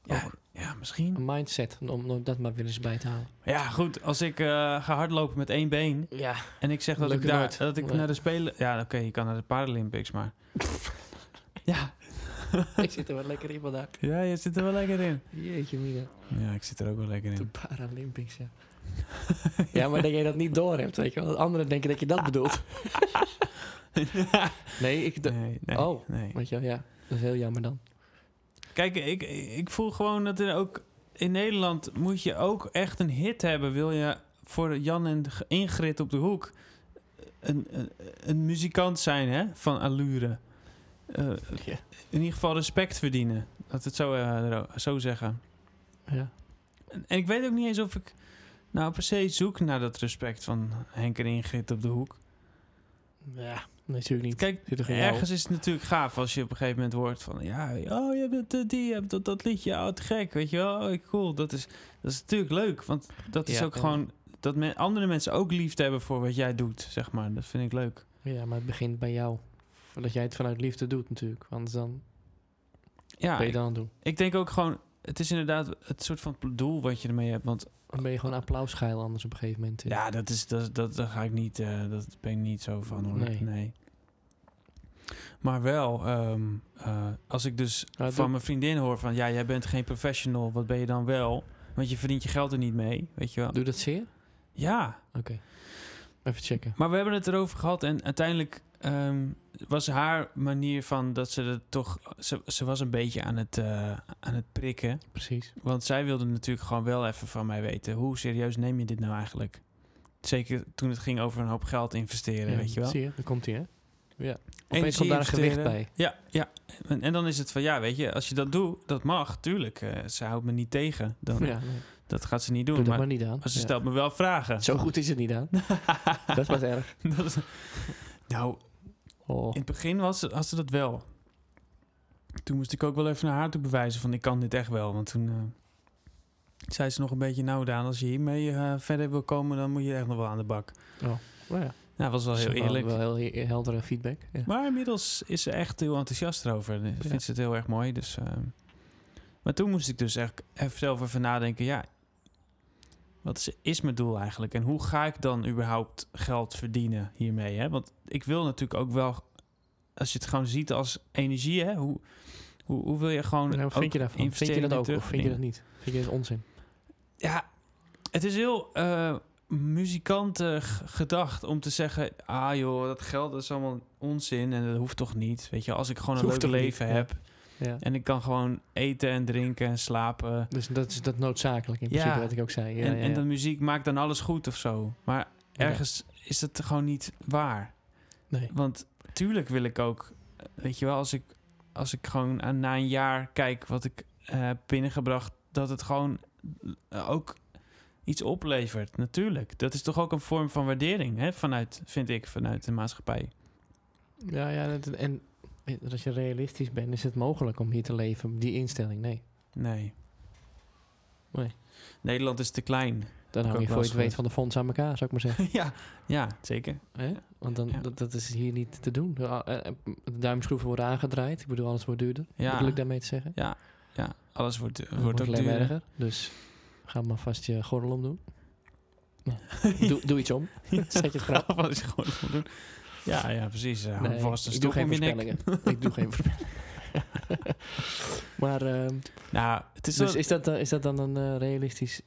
[SPEAKER 1] ja,
[SPEAKER 2] Ook.
[SPEAKER 1] ja misschien.
[SPEAKER 2] Een mindset, om, om dat maar weer eens bij te halen.
[SPEAKER 1] Ja, goed. Als ik eh, ga hardlopen met één been,
[SPEAKER 2] Ja.
[SPEAKER 1] En ik zeg dat
[SPEAKER 2] Lukt
[SPEAKER 1] ik,
[SPEAKER 2] het
[SPEAKER 1] daar,
[SPEAKER 2] nooit.
[SPEAKER 1] dat ik
[SPEAKER 2] Nee.
[SPEAKER 1] naar de Spelen... Ja, oké, je kan naar de Paralympics, maar... ja.
[SPEAKER 2] ik zit er wel lekker in vandaag.
[SPEAKER 1] ja, je zit er wel lekker in.
[SPEAKER 2] Jeetje, Mina.
[SPEAKER 1] Ja, ik zit er ook wel lekker
[SPEAKER 2] De
[SPEAKER 1] in.
[SPEAKER 2] Paralympics, ja. ja, maar dat jij dat niet door hebt, weet je wel. Anderen denken dat je dat bedoelt. nee, ik... d-
[SPEAKER 1] Nee, nee,
[SPEAKER 2] Oh.
[SPEAKER 1] nee.
[SPEAKER 2] Weet je wel, ja. Dat is heel jammer dan.
[SPEAKER 1] Kijk, ik, ik voel gewoon dat er ook... In Nederland moet je ook echt een hit hebben. Wil je voor Jan en Ingrid op de hoek... een, een, een muzikant zijn, hè? Van allure. Eh,
[SPEAKER 2] Ja.
[SPEAKER 1] in ieder geval respect verdienen. Laat het zo, eh, ro- zo zeggen.
[SPEAKER 2] Ja.
[SPEAKER 1] En, en ik weet ook niet eens of ik nou per se zoek naar dat respect van Henk en Ingrid op de hoek.
[SPEAKER 2] Ja, natuurlijk niet.
[SPEAKER 1] Kijk,
[SPEAKER 2] Zit er geen
[SPEAKER 1] ergens is het natuurlijk gaaf als je op een gegeven moment hoort van... Ja, oh, je bent eh, die, je hebt dat, dat liedje, oh, te gek, weet je wel. Oh, cool, dat is, dat is natuurlijk leuk. Want dat is
[SPEAKER 2] Ja,
[SPEAKER 1] ook
[SPEAKER 2] en-
[SPEAKER 1] gewoon... Dat men, andere mensen ook liefde hebben voor wat jij doet, zeg maar. Dat vind ik leuk.
[SPEAKER 2] Ja, maar het begint bij jou. Dat jij het vanuit liefde doet natuurlijk. Anders dan
[SPEAKER 1] Ja,
[SPEAKER 2] ben je
[SPEAKER 1] Ah, ik,
[SPEAKER 2] dan aan het doen.
[SPEAKER 1] ik denk ook gewoon... Het is inderdaad het soort van doel wat je ermee hebt. Want
[SPEAKER 2] Dan ben je gewoon applausgeil anders op een gegeven moment. eh.
[SPEAKER 1] Ja, dat is dat, dat, daar ga ik niet, eh, dat ben ik niet zo van hoor. Nee.
[SPEAKER 2] Nee.
[SPEAKER 1] Maar wel, ehm, eh, als ik dus
[SPEAKER 2] Nou,
[SPEAKER 1] van
[SPEAKER 2] doe-
[SPEAKER 1] mijn vriendin hoor van ja, jij bent geen professional, wat ben je dan wel? Want je verdient je geld er niet mee, weet je wel.
[SPEAKER 2] Doe dat zeer?
[SPEAKER 1] Ja,
[SPEAKER 2] Even checken.
[SPEAKER 1] maar we hebben het erover gehad en uiteindelijk ehm, was haar manier van dat ze het toch, ze, ze was een beetje aan het, eh, aan het prikken.
[SPEAKER 2] Precies.
[SPEAKER 1] Want zij wilde natuurlijk gewoon wel even van mij weten. Hoe serieus neem je dit nou eigenlijk? Zeker toen het ging over een hoop geld investeren,
[SPEAKER 2] Ja,
[SPEAKER 1] weet je wel.
[SPEAKER 2] Zie je? Daar komt hij, hè? Opeens
[SPEAKER 1] energie
[SPEAKER 2] komt daar een gewicht
[SPEAKER 1] investeren.
[SPEAKER 2] bij.
[SPEAKER 1] Ja, ja. En, en dan is het van, ja, weet je, als je dat doet, dat mag, tuurlijk. eh, ze houdt me niet tegen. Dan,
[SPEAKER 2] Ja, nee,
[SPEAKER 1] Dat gaat ze niet doen.
[SPEAKER 2] doe dat
[SPEAKER 1] maar,
[SPEAKER 2] maar niet aan.
[SPEAKER 1] maar ze
[SPEAKER 2] Ja.
[SPEAKER 1] stelt me wel vragen.
[SPEAKER 2] Zo goed is het niet aan. dat was erg.
[SPEAKER 1] Dat is- nou,
[SPEAKER 2] Oh.
[SPEAKER 1] in het begin was, ze- had ze dat wel. Toen moest ik ook wel even naar haar toe bewijzen van ik kan dit echt wel. Want toen eh, zei ze nog een beetje, nou Daan, als je hiermee eh, verder wil komen, dan moet je echt nog wel aan de bak.
[SPEAKER 2] Nou ja,
[SPEAKER 1] Nou, dat was wel
[SPEAKER 2] dat is
[SPEAKER 1] heel eerlijk.
[SPEAKER 2] Wel heel he- heldere feedback. Ja.
[SPEAKER 1] Maar inmiddels is ze echt heel enthousiast erover. Ze
[SPEAKER 2] Ja.
[SPEAKER 1] Vindt ze het heel erg mooi. Dus, eh, maar toen moest ik dus echt even zelf even nadenken. Ja, wat is, is mijn doel eigenlijk? En hoe ga ik dan überhaupt geld verdienen hiermee? Hè? Want ik wil natuurlijk ook wel... Als je het gewoon ziet als energie, hè? Hoe, hoe, hoe wil je gewoon...
[SPEAKER 2] Nou, wat vind
[SPEAKER 1] ook
[SPEAKER 2] je daarvan? Vind je
[SPEAKER 1] investeringen
[SPEAKER 2] dat ook of
[SPEAKER 1] terugverdienen?
[SPEAKER 2] vind je dat niet? Vind je dat onzin?
[SPEAKER 1] Ja, het is heel eh muzikantig gedacht om te zeggen... ah joh, dat geld dat is allemaal onzin en dat hoeft toch niet? Weet je, als ik gewoon
[SPEAKER 2] Het
[SPEAKER 1] een
[SPEAKER 2] hoeft
[SPEAKER 1] leuk
[SPEAKER 2] toch niet,
[SPEAKER 1] leven
[SPEAKER 2] ja.
[SPEAKER 1] heb...
[SPEAKER 2] Ja.
[SPEAKER 1] en ik kan gewoon eten en drinken en slapen...
[SPEAKER 2] Dus dat is dat noodzakelijk in
[SPEAKER 1] Ja.
[SPEAKER 2] principe wat ik ook zei. Ja,
[SPEAKER 1] en,
[SPEAKER 2] ja,
[SPEAKER 1] en
[SPEAKER 2] ja.
[SPEAKER 1] de muziek maakt dan alles goed of zo. Maar
[SPEAKER 2] Ja.
[SPEAKER 1] ergens is het gewoon niet waar.
[SPEAKER 2] Nee.
[SPEAKER 1] Want tuurlijk wil ik ook... eh, weet je wel, als ik, als ik gewoon aan- na een jaar kijk wat ik eh, heb binnengebracht... dat het gewoon eh, ook iets oplevert, natuurlijk. Dat is toch ook een vorm van waardering, hè? Vanuit, vind ik, vanuit de maatschappij.
[SPEAKER 2] Ja, ja dat- en als je realistisch bent, is het mogelijk om hier te leven. met Die instelling, nee.
[SPEAKER 1] Nee.
[SPEAKER 2] Nee.
[SPEAKER 1] Nederland is te klein.
[SPEAKER 2] Dan hou
[SPEAKER 1] ook
[SPEAKER 2] je
[SPEAKER 1] wel eens
[SPEAKER 2] voor je het weet
[SPEAKER 1] gehoord.
[SPEAKER 2] van de fonds aan elkaar, zou ik maar zeggen.
[SPEAKER 1] ja. Ja, zeker.
[SPEAKER 2] Hè? Want dan,
[SPEAKER 1] Ja.
[SPEAKER 2] dat, dat is hier niet te doen. De, eh, eh, de duimschroeven worden aangedraaid. Ik bedoel, alles wordt duurder.
[SPEAKER 1] Ja.
[SPEAKER 2] Bedoel ik daarmee te zeggen.
[SPEAKER 1] Ja, ja. alles wordt,
[SPEAKER 2] Het
[SPEAKER 1] wordt, ook
[SPEAKER 2] alleen maar
[SPEAKER 1] duurder.
[SPEAKER 2] erger. Dus ga maar vast je gordel omdoen. Nou, doe, doe iets om. Zet je grap.
[SPEAKER 1] Wat is gewoon te doen. Ja, ja, precies. Eh, hou
[SPEAKER 2] Nee,
[SPEAKER 1] vast een
[SPEAKER 2] ik doe
[SPEAKER 1] stok
[SPEAKER 2] geen
[SPEAKER 1] om je nek.
[SPEAKER 2] voorspellingen. ik doe geen voorspellingen. maar ehm,
[SPEAKER 1] Nou, het is
[SPEAKER 2] dus
[SPEAKER 1] wel-
[SPEAKER 2] is dat, dan- is dat dan een eh, realistisch...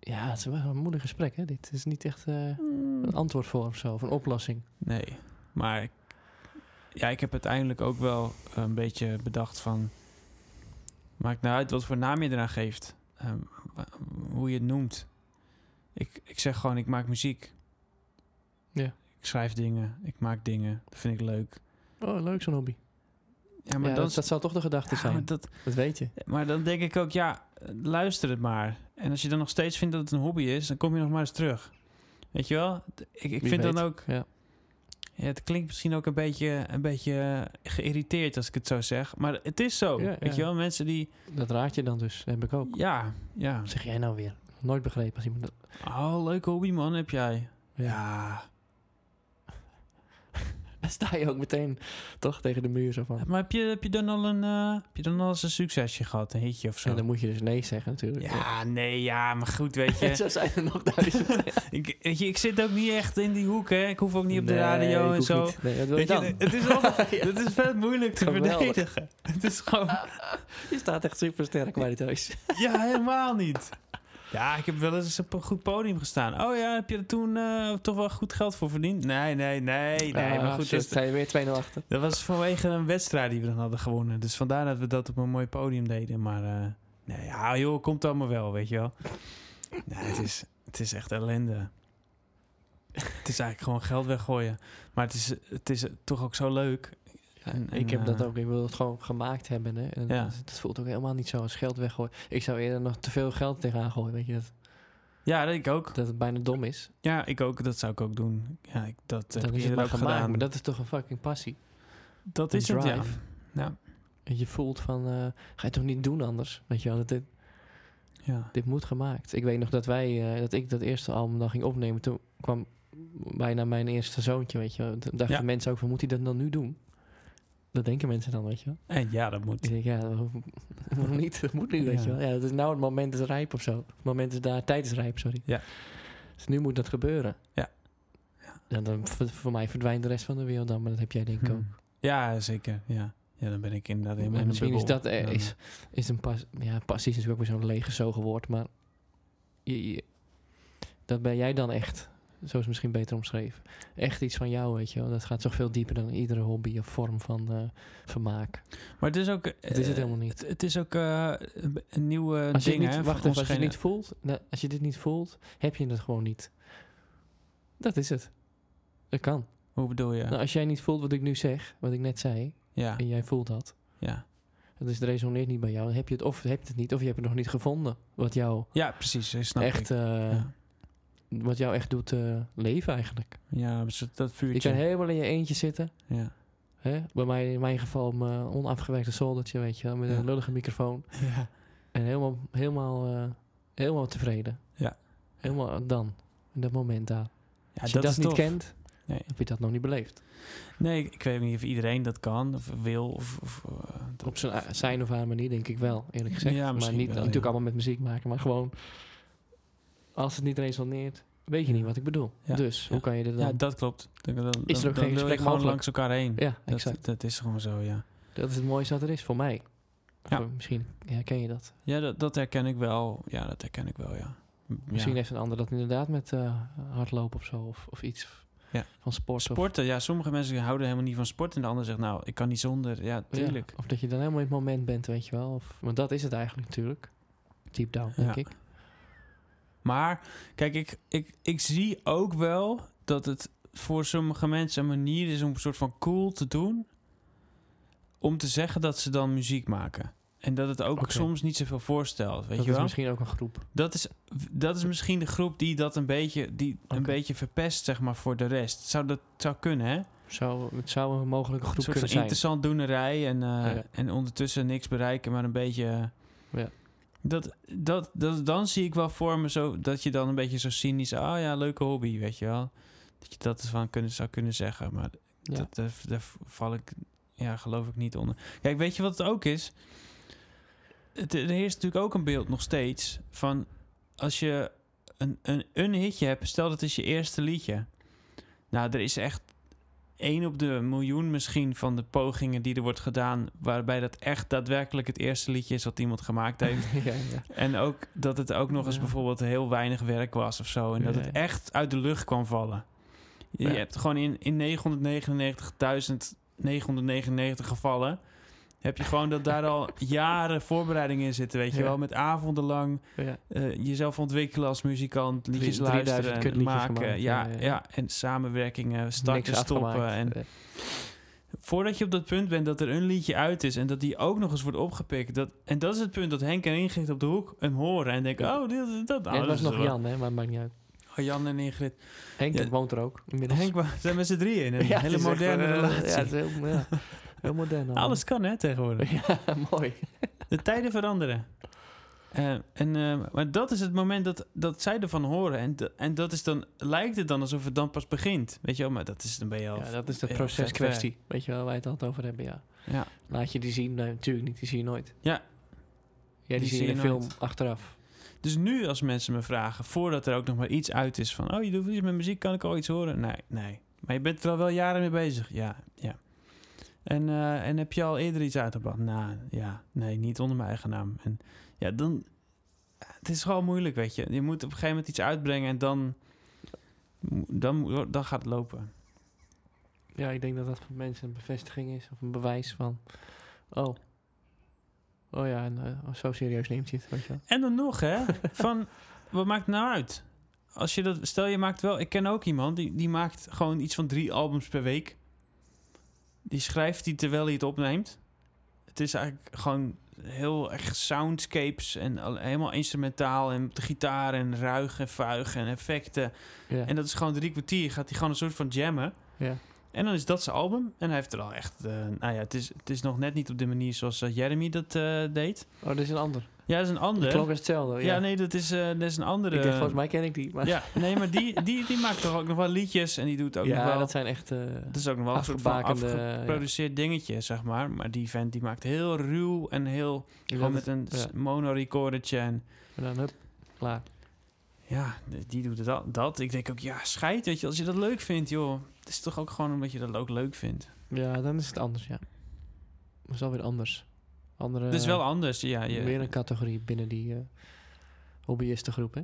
[SPEAKER 2] Ja, het is wel een moeilijk gesprek, hè? Dit is niet echt eh,
[SPEAKER 1] Mm.
[SPEAKER 2] een antwoord voor of zo, of een oplossing.
[SPEAKER 1] Nee, maar ik- ja, ik heb uiteindelijk ook wel een beetje bedacht van... Maakt nou uit wat voor naam je eraan geeft. eh, wa- hoe je het noemt. Ik, ik zeg gewoon, ik maak muziek.
[SPEAKER 2] Ja.
[SPEAKER 1] Ik schrijf dingen, ik maak dingen. Dat vind ik leuk.
[SPEAKER 2] Oh, leuk zo'n hobby.
[SPEAKER 1] Ja,
[SPEAKER 2] Maar
[SPEAKER 1] maar,
[SPEAKER 2] ja,
[SPEAKER 1] dan,
[SPEAKER 2] dat, dat zou toch de gedachte
[SPEAKER 1] ja,
[SPEAKER 2] zijn.
[SPEAKER 1] maar
[SPEAKER 2] dat,
[SPEAKER 1] dat,
[SPEAKER 2] weet je.
[SPEAKER 1] maar dan denk ik ook, ja, eh, luister het maar. En als je dan nog steeds vindt dat het een hobby is, dan kom je nog maar eens terug. Weet je wel? D- Ik, ik
[SPEAKER 2] Wie
[SPEAKER 1] vind dan
[SPEAKER 2] weet.
[SPEAKER 1] ook...
[SPEAKER 2] Ja.
[SPEAKER 1] Ja, het klinkt misschien ook een beetje, een beetje geïrriteerd als ik het zo zeg. Maar het is zo.
[SPEAKER 2] Ja,
[SPEAKER 1] weet
[SPEAKER 2] ja.
[SPEAKER 1] je wel, mensen die.
[SPEAKER 2] Dat raad je dan dus, heb ik ook.
[SPEAKER 1] Ja, ja.
[SPEAKER 2] Wat zeg jij nou weer? Nooit begrepen als iemand dat...
[SPEAKER 1] Oh, leuke hobby man heb jij. Ja.
[SPEAKER 2] Dan sta je ook meteen toch tegen de muur zo van...
[SPEAKER 1] Maar heb je, heb je dan al een, eh, heb je dan al eens een succesje gehad, een hitje of zo?
[SPEAKER 2] En dan moet je dus nee zeggen natuurlijk.
[SPEAKER 1] Ja, nee, ja, maar goed, weet
[SPEAKER 2] En
[SPEAKER 1] je.
[SPEAKER 2] zo zijn er nog duizend.
[SPEAKER 1] ik, weet je. Ik zit ook niet echt in die hoek, hè. Ik hoef ook niet op de
[SPEAKER 2] Nee, ik
[SPEAKER 1] radio en
[SPEAKER 2] hoef
[SPEAKER 1] zo.
[SPEAKER 2] niet. Nee, wat wil je
[SPEAKER 1] Weet je,
[SPEAKER 2] dan?
[SPEAKER 1] het is altijd, het is vet moeilijk te
[SPEAKER 2] Geweldig.
[SPEAKER 1] verdedigen. Het is gewoon,
[SPEAKER 2] Je staat echt super sterk waar je thuis.
[SPEAKER 1] Ja, helemaal niet. Ja, ik heb wel eens op een goed podium gestaan. Oh ja, heb je er toen eh, toch wel goed geld voor verdiend? Nee, nee, nee, nee. maar goed, dus-
[SPEAKER 2] dan
[SPEAKER 1] dat,
[SPEAKER 2] Ah, sta je weer 2-0 achter.
[SPEAKER 1] dat was vanwege een wedstrijd die we dan hadden gewonnen. Dus vandaar dat we dat op een mooi podium deden. Maar eh, nee, ja, joh, komt allemaal wel, weet je wel. Nee, het is, het is echt ellende. Het is eigenlijk gewoon geld weggooien. Maar het is, het is toch ook zo leuk. En- en,
[SPEAKER 2] ik heb dat
[SPEAKER 1] eh,
[SPEAKER 2] ook. Ik wil het gewoon gemaakt hebben. Hè. En
[SPEAKER 1] Ja.
[SPEAKER 2] dat, dat voelt ook helemaal niet zo als geld weggooien. Ik zou eerder nog te veel geld tegenaan gooien. Weet je, dat,
[SPEAKER 1] Ja, dat ik ook.
[SPEAKER 2] dat het bijna dom is.
[SPEAKER 1] Ja, ik ook. Dat zou ik ook doen. Ja, ik, dat heb
[SPEAKER 2] dan
[SPEAKER 1] ik
[SPEAKER 2] is het
[SPEAKER 1] eerder
[SPEAKER 2] maar
[SPEAKER 1] ook
[SPEAKER 2] gemaakt.
[SPEAKER 1] gedaan.
[SPEAKER 2] Maar dat is toch een fucking passie.
[SPEAKER 1] Dat
[SPEAKER 2] Een
[SPEAKER 1] is het, ja.
[SPEAKER 2] drive.
[SPEAKER 1] Ja.
[SPEAKER 2] En je voelt van, eh, ga je toch niet doen anders? Weet je wel, dat dit,
[SPEAKER 1] ja.
[SPEAKER 2] dit moet gemaakt. Ik weet nog dat wij, eh, dat ik dat eerste album dan ging opnemen. Toen kwam bijna mijn eerste zoontje, weet je wel. Toen dachten
[SPEAKER 1] Ja.
[SPEAKER 2] mensen ook van, moet hij dat dan nu doen? Dat denken mensen dan, weet je wel.
[SPEAKER 1] En ja, dat moet.
[SPEAKER 2] Ik denk, ja, dat hoeft- waarom niet? Dat moet nu, weet je
[SPEAKER 1] Ja.
[SPEAKER 2] wel. Ja, dat is nou het moment is rijp of zo. Het moment is daar, tijd is rijp, sorry.
[SPEAKER 1] Ja.
[SPEAKER 2] Dus nu moet dat gebeuren.
[SPEAKER 1] Ja.
[SPEAKER 2] Ja, dan voor, voor mij verdwijnt de rest van de wereld dan, maar dat heb jij denk ik ook.
[SPEAKER 1] Hmm. Ja, zeker. Ja. ja, dan ben ik inderdaad helemaal
[SPEAKER 2] En
[SPEAKER 1] in een
[SPEAKER 2] misschien is
[SPEAKER 1] bubbel.
[SPEAKER 2] dat eh,
[SPEAKER 1] Dan,
[SPEAKER 2] is, is een pas, ja, passie is natuurlijk ook weer zo'n leeggezogen woord, maar je, je- dat ben jij dan echt, zo is het misschien beter omschreven. Echt iets van jou, weet je wel. Dat gaat toch veel dieper dan iedere hobby of vorm van eh, vermaak.
[SPEAKER 1] eh, Maar het is ook...
[SPEAKER 2] Dat is het
[SPEAKER 1] eh,
[SPEAKER 2] helemaal niet.
[SPEAKER 1] Het, het is ook eh, een- een nieuwe
[SPEAKER 2] Als je, het
[SPEAKER 1] ding,
[SPEAKER 2] niet,
[SPEAKER 1] hè.
[SPEAKER 2] wacht
[SPEAKER 1] van
[SPEAKER 2] even, als je het
[SPEAKER 1] ons
[SPEAKER 2] niet voelt, nou, als je dit niet voelt, heb je het gewoon niet. Dat is het. Dat kan.
[SPEAKER 1] Hoe bedoel je?
[SPEAKER 2] Nou, als jij niet voelt wat ik nu zeg, wat ik net zei,
[SPEAKER 1] ja,
[SPEAKER 2] en jij voelt dat,
[SPEAKER 1] ja.
[SPEAKER 2] dus het resoneert niet bij jou, dan heb je het of heb je het niet, of je hebt het nog niet gevonden. Wat jou,
[SPEAKER 1] ja, precies. eh, Snap
[SPEAKER 2] echt,
[SPEAKER 1] ik.
[SPEAKER 2] eh,
[SPEAKER 1] Ja.
[SPEAKER 2] wat jou echt doet eh, leven eigenlijk.
[SPEAKER 1] Ja, dus dat- dat
[SPEAKER 2] Je
[SPEAKER 1] vuurtje.
[SPEAKER 2] kan helemaal in je eentje zitten.
[SPEAKER 1] ja.
[SPEAKER 2] Hè? Bij mij, in mijn geval, op mijn onafgewerkte zoldertje, weet je wel, met
[SPEAKER 1] Ja.
[SPEAKER 2] een lullige microfoon.
[SPEAKER 1] ja.
[SPEAKER 2] En helemaal, helemaal, eh, helemaal tevreden.
[SPEAKER 1] Ja.
[SPEAKER 2] Helemaal dan, in dat moment daar. Als je
[SPEAKER 1] dat
[SPEAKER 2] dat,
[SPEAKER 1] is
[SPEAKER 2] niet
[SPEAKER 1] tof.
[SPEAKER 2] kent,
[SPEAKER 1] Nee.
[SPEAKER 2] heb je dat nog niet beleefd.
[SPEAKER 1] Nee, ik, ik weet niet of iedereen dat kan of wil. Of, of, eh, dat-
[SPEAKER 2] Op zijn, zijn of haar manier, denk ik wel, eerlijk gezegd.
[SPEAKER 1] Ja,
[SPEAKER 2] maar
[SPEAKER 1] misschien
[SPEAKER 2] niet
[SPEAKER 1] wel,
[SPEAKER 2] natuurlijk
[SPEAKER 1] ja.
[SPEAKER 2] allemaal met muziek maken, maar gewoon als het niet resoneert, weet je niet wat ik bedoel.
[SPEAKER 1] Ja,
[SPEAKER 2] Dus hoe
[SPEAKER 1] ja.
[SPEAKER 2] kan je er dan?
[SPEAKER 1] ja, dat klopt. Dan, dan, dan,
[SPEAKER 2] Is er ook
[SPEAKER 1] dan
[SPEAKER 2] geen
[SPEAKER 1] wil je
[SPEAKER 2] gesprek
[SPEAKER 1] gewoon
[SPEAKER 2] mogelijk?
[SPEAKER 1] langs elkaar heen.
[SPEAKER 2] Ja,
[SPEAKER 1] dat,
[SPEAKER 2] exact.
[SPEAKER 1] dat is gewoon zo, ja.
[SPEAKER 2] Dat is het mooiste wat er is voor mij.
[SPEAKER 1] Ja.
[SPEAKER 2] Voor- misschien herken je dat.
[SPEAKER 1] Ja, dat, dat herken ik wel. Ja, dat herken ik wel, ja. M- ja.
[SPEAKER 2] Misschien heeft een ander dat inderdaad met eh, hardlopen of zo, of, of iets
[SPEAKER 1] Ja.
[SPEAKER 2] van sport. of-
[SPEAKER 1] Sporten, ja, sommige mensen houden helemaal niet van sport. En de ander zegt, nou, ik kan niet zonder. Ja,
[SPEAKER 2] Ja,
[SPEAKER 1] tuurlijk.
[SPEAKER 2] Of dat je dan helemaal in het moment bent, weet je wel. Of, want dat is het eigenlijk natuurlijk. Deep down, denk
[SPEAKER 1] Ja.
[SPEAKER 2] ik.
[SPEAKER 1] Maar kijk, ik, ik, ik zie ook wel dat het voor sommige mensen een manier is om een soort van cool te doen. Om te zeggen dat ze dan muziek maken. En dat het ook
[SPEAKER 2] Oké.
[SPEAKER 1] soms niet zoveel voorstelt. Weet
[SPEAKER 2] dat
[SPEAKER 1] je
[SPEAKER 2] is
[SPEAKER 1] wel?
[SPEAKER 2] misschien ook een groep.
[SPEAKER 1] Dat, is, dat is misschien de groep die dat een beetje, die een
[SPEAKER 2] Oké.
[SPEAKER 1] beetje verpest, zeg maar, voor de rest. Zou dat zou kunnen, hè?
[SPEAKER 2] Zou, het zou een mogelijke
[SPEAKER 1] Een
[SPEAKER 2] groep
[SPEAKER 1] soort van
[SPEAKER 2] kunnen zijn.
[SPEAKER 1] interessant doenerij en, eh,
[SPEAKER 2] Ja.
[SPEAKER 1] en ondertussen niks bereiken, maar een beetje. eh,
[SPEAKER 2] Ja.
[SPEAKER 1] Dat, dat, dat, dan zie ik wel voor me zo dat je dan een beetje zo cynisch, ah ja, leuke hobby, weet je wel. Dat je dat van kunnen, zou kunnen zeggen, maar
[SPEAKER 2] Ja.
[SPEAKER 1] dat, daar, daar val ik, ja, geloof ik niet onder. Kijk, weet je wat het ook is? Het, er heerst natuurlijk ook een beeld nog steeds van als je een, een, een hitje hebt, stel dat is je eerste liedje. Nou, er is echt één op de miljoen misschien van de pogingen die er wordt gedaan, waarbij dat echt daadwerkelijk het eerste liedje is wat iemand gemaakt heeft.
[SPEAKER 2] ja, ja.
[SPEAKER 1] en ook dat het ook nog eens
[SPEAKER 2] Ja.
[SPEAKER 1] bijvoorbeeld heel weinig werk was of zo. En dat het
[SPEAKER 2] Ja.
[SPEAKER 1] echt uit de lucht kwam vallen. Je, je
[SPEAKER 2] Ja.
[SPEAKER 1] hebt gewoon in, in 999.999 gevallen. Heb je gewoon dat daar al jaren voorbereiding in zitten, weet je
[SPEAKER 2] Ja.
[SPEAKER 1] wel? Met avondenlang
[SPEAKER 2] ja.
[SPEAKER 1] eh, jezelf ontwikkelen als muzikant, liedjes
[SPEAKER 2] Drie- 3000
[SPEAKER 1] luisteren, en
[SPEAKER 2] kutliedjes
[SPEAKER 1] maken.
[SPEAKER 2] gemaakt,
[SPEAKER 1] Ja,
[SPEAKER 2] ja,
[SPEAKER 1] ja,
[SPEAKER 2] ja.
[SPEAKER 1] en samenwerkingen,
[SPEAKER 2] Niks
[SPEAKER 1] starten, stoppen.
[SPEAKER 2] afgemaakt.
[SPEAKER 1] En
[SPEAKER 2] Eh,
[SPEAKER 1] voordat je op dat punt bent dat er een liedje uit is en dat die ook nog eens wordt opgepikt. Dat, en dat is het punt dat Henk en Ingrid op de hoek hem horen en denken:
[SPEAKER 2] Ja.
[SPEAKER 1] Oh, dit, dit- dat,
[SPEAKER 2] en
[SPEAKER 1] nou, dat
[SPEAKER 2] het was
[SPEAKER 1] is
[SPEAKER 2] nog
[SPEAKER 1] wel-
[SPEAKER 2] Jan, hè, maar maakt niet uit.
[SPEAKER 1] Oh, Jan en Ingrid.
[SPEAKER 2] Henk
[SPEAKER 1] Ja.
[SPEAKER 2] woont er ook inmiddels.
[SPEAKER 1] Henk, we zijn met z'n drieën in een
[SPEAKER 2] Ja, het
[SPEAKER 1] hele
[SPEAKER 2] is echt
[SPEAKER 1] moderne
[SPEAKER 2] een, eh,
[SPEAKER 1] relatie.
[SPEAKER 2] Ja, het is heel, ja, heel modern. allemaal.
[SPEAKER 1] Alles kan, hè, tegenwoordig.
[SPEAKER 2] Ja, mooi.
[SPEAKER 1] De tijden veranderen. Eh, en, eh, maar dat is het moment dat, dat zij ervan horen. En, da- en dat is dan, lijkt het dan alsof het dan pas begint. Weet je wel, maar dat is dan ben je al
[SPEAKER 2] Ja, dat is de
[SPEAKER 1] heel vet
[SPEAKER 2] proceskwestie. Weet je wel, waar wij het altijd over hebben, ja.
[SPEAKER 1] Ja.
[SPEAKER 2] Laat je die zien? Nee, natuurlijk niet. Die zie je nooit.
[SPEAKER 1] Ja.
[SPEAKER 2] Ja, die, zie je in de film
[SPEAKER 1] nooit.
[SPEAKER 2] achteraf.
[SPEAKER 1] Dus nu als mensen me vragen, voordat er ook nog maar iets uit is van... oh, je doet iets met muziek, kan ik al iets horen? Nee, nee. Maar je bent er al wel jaren mee bezig. Ja, ja. En, eh, en heb je al eerder iets uitgebracht? Nou, ja, nee, niet onder mijn eigen naam. En ja, dan... Het is gewoon moeilijk, weet je. Je moet op een gegeven moment iets uitbrengen en dan... Dan, moet- dan gaat het lopen.
[SPEAKER 2] Ja, ik denk dat dat voor mensen een bevestiging is. Of een bewijs van... Oh. Oh ja, en, eh, zo serieus neemt hij het, weet je wel.
[SPEAKER 1] En dan nog, hè? Van, wat maakt het nou uit? Als je dat, stel je maakt wel, ik ken ook iemand die, die maakt gewoon iets van drie albums per week. Die schrijft die terwijl hij het opneemt. Het is eigenlijk gewoon heel echt soundscapes en al- helemaal instrumentaal en op de gitaar en ruig en vuig en effecten.
[SPEAKER 2] Ja.
[SPEAKER 1] En dat is gewoon drie kwartier. Gaat hij gewoon een soort van jammen.
[SPEAKER 2] ja.
[SPEAKER 1] En dan is dat zijn album. En hij heeft er al echt, eh, nou ja, het is, het is nog net niet op de manier zoals eh, Jeremy dat eh, deed.
[SPEAKER 2] Oh, dat is een ander.
[SPEAKER 1] Ja, dat is een
[SPEAKER 2] De
[SPEAKER 1] ander.
[SPEAKER 2] klonk is hetzelfde. Oh, Ja,
[SPEAKER 1] Ja, nee, dat is, eh, dat is een andere.
[SPEAKER 2] Ik denk, volgens mij ken ik die. Maar ja,
[SPEAKER 1] Ja, nee, maar die, die, die maakt toch ook nog wel liedjes en die doet ook nog wel.
[SPEAKER 2] dat zijn echt... eh,
[SPEAKER 1] dat is ook nog wel een soort van
[SPEAKER 2] afgebakende, ja.
[SPEAKER 1] afgeproduceerd dingetje, zeg maar. Maar die vent die maakt heel ruw en heel. Gewoon met een
[SPEAKER 2] ja.
[SPEAKER 1] s- monorecordertje. En
[SPEAKER 2] En dan, hup, klaar.
[SPEAKER 1] ja, d- die doet het al, dat. Ik denk ook, ja, scheid, weet je, als je dat leuk vindt, joh. Het is toch ook gewoon omdat je dat ook leuk vindt.
[SPEAKER 2] Ja, dan is het anders, ja. Dat is alweer anders. Andere,
[SPEAKER 1] Het is wel anders, ja. Je,
[SPEAKER 2] Weer een categorie binnen die eh hobbyistengroep, hè?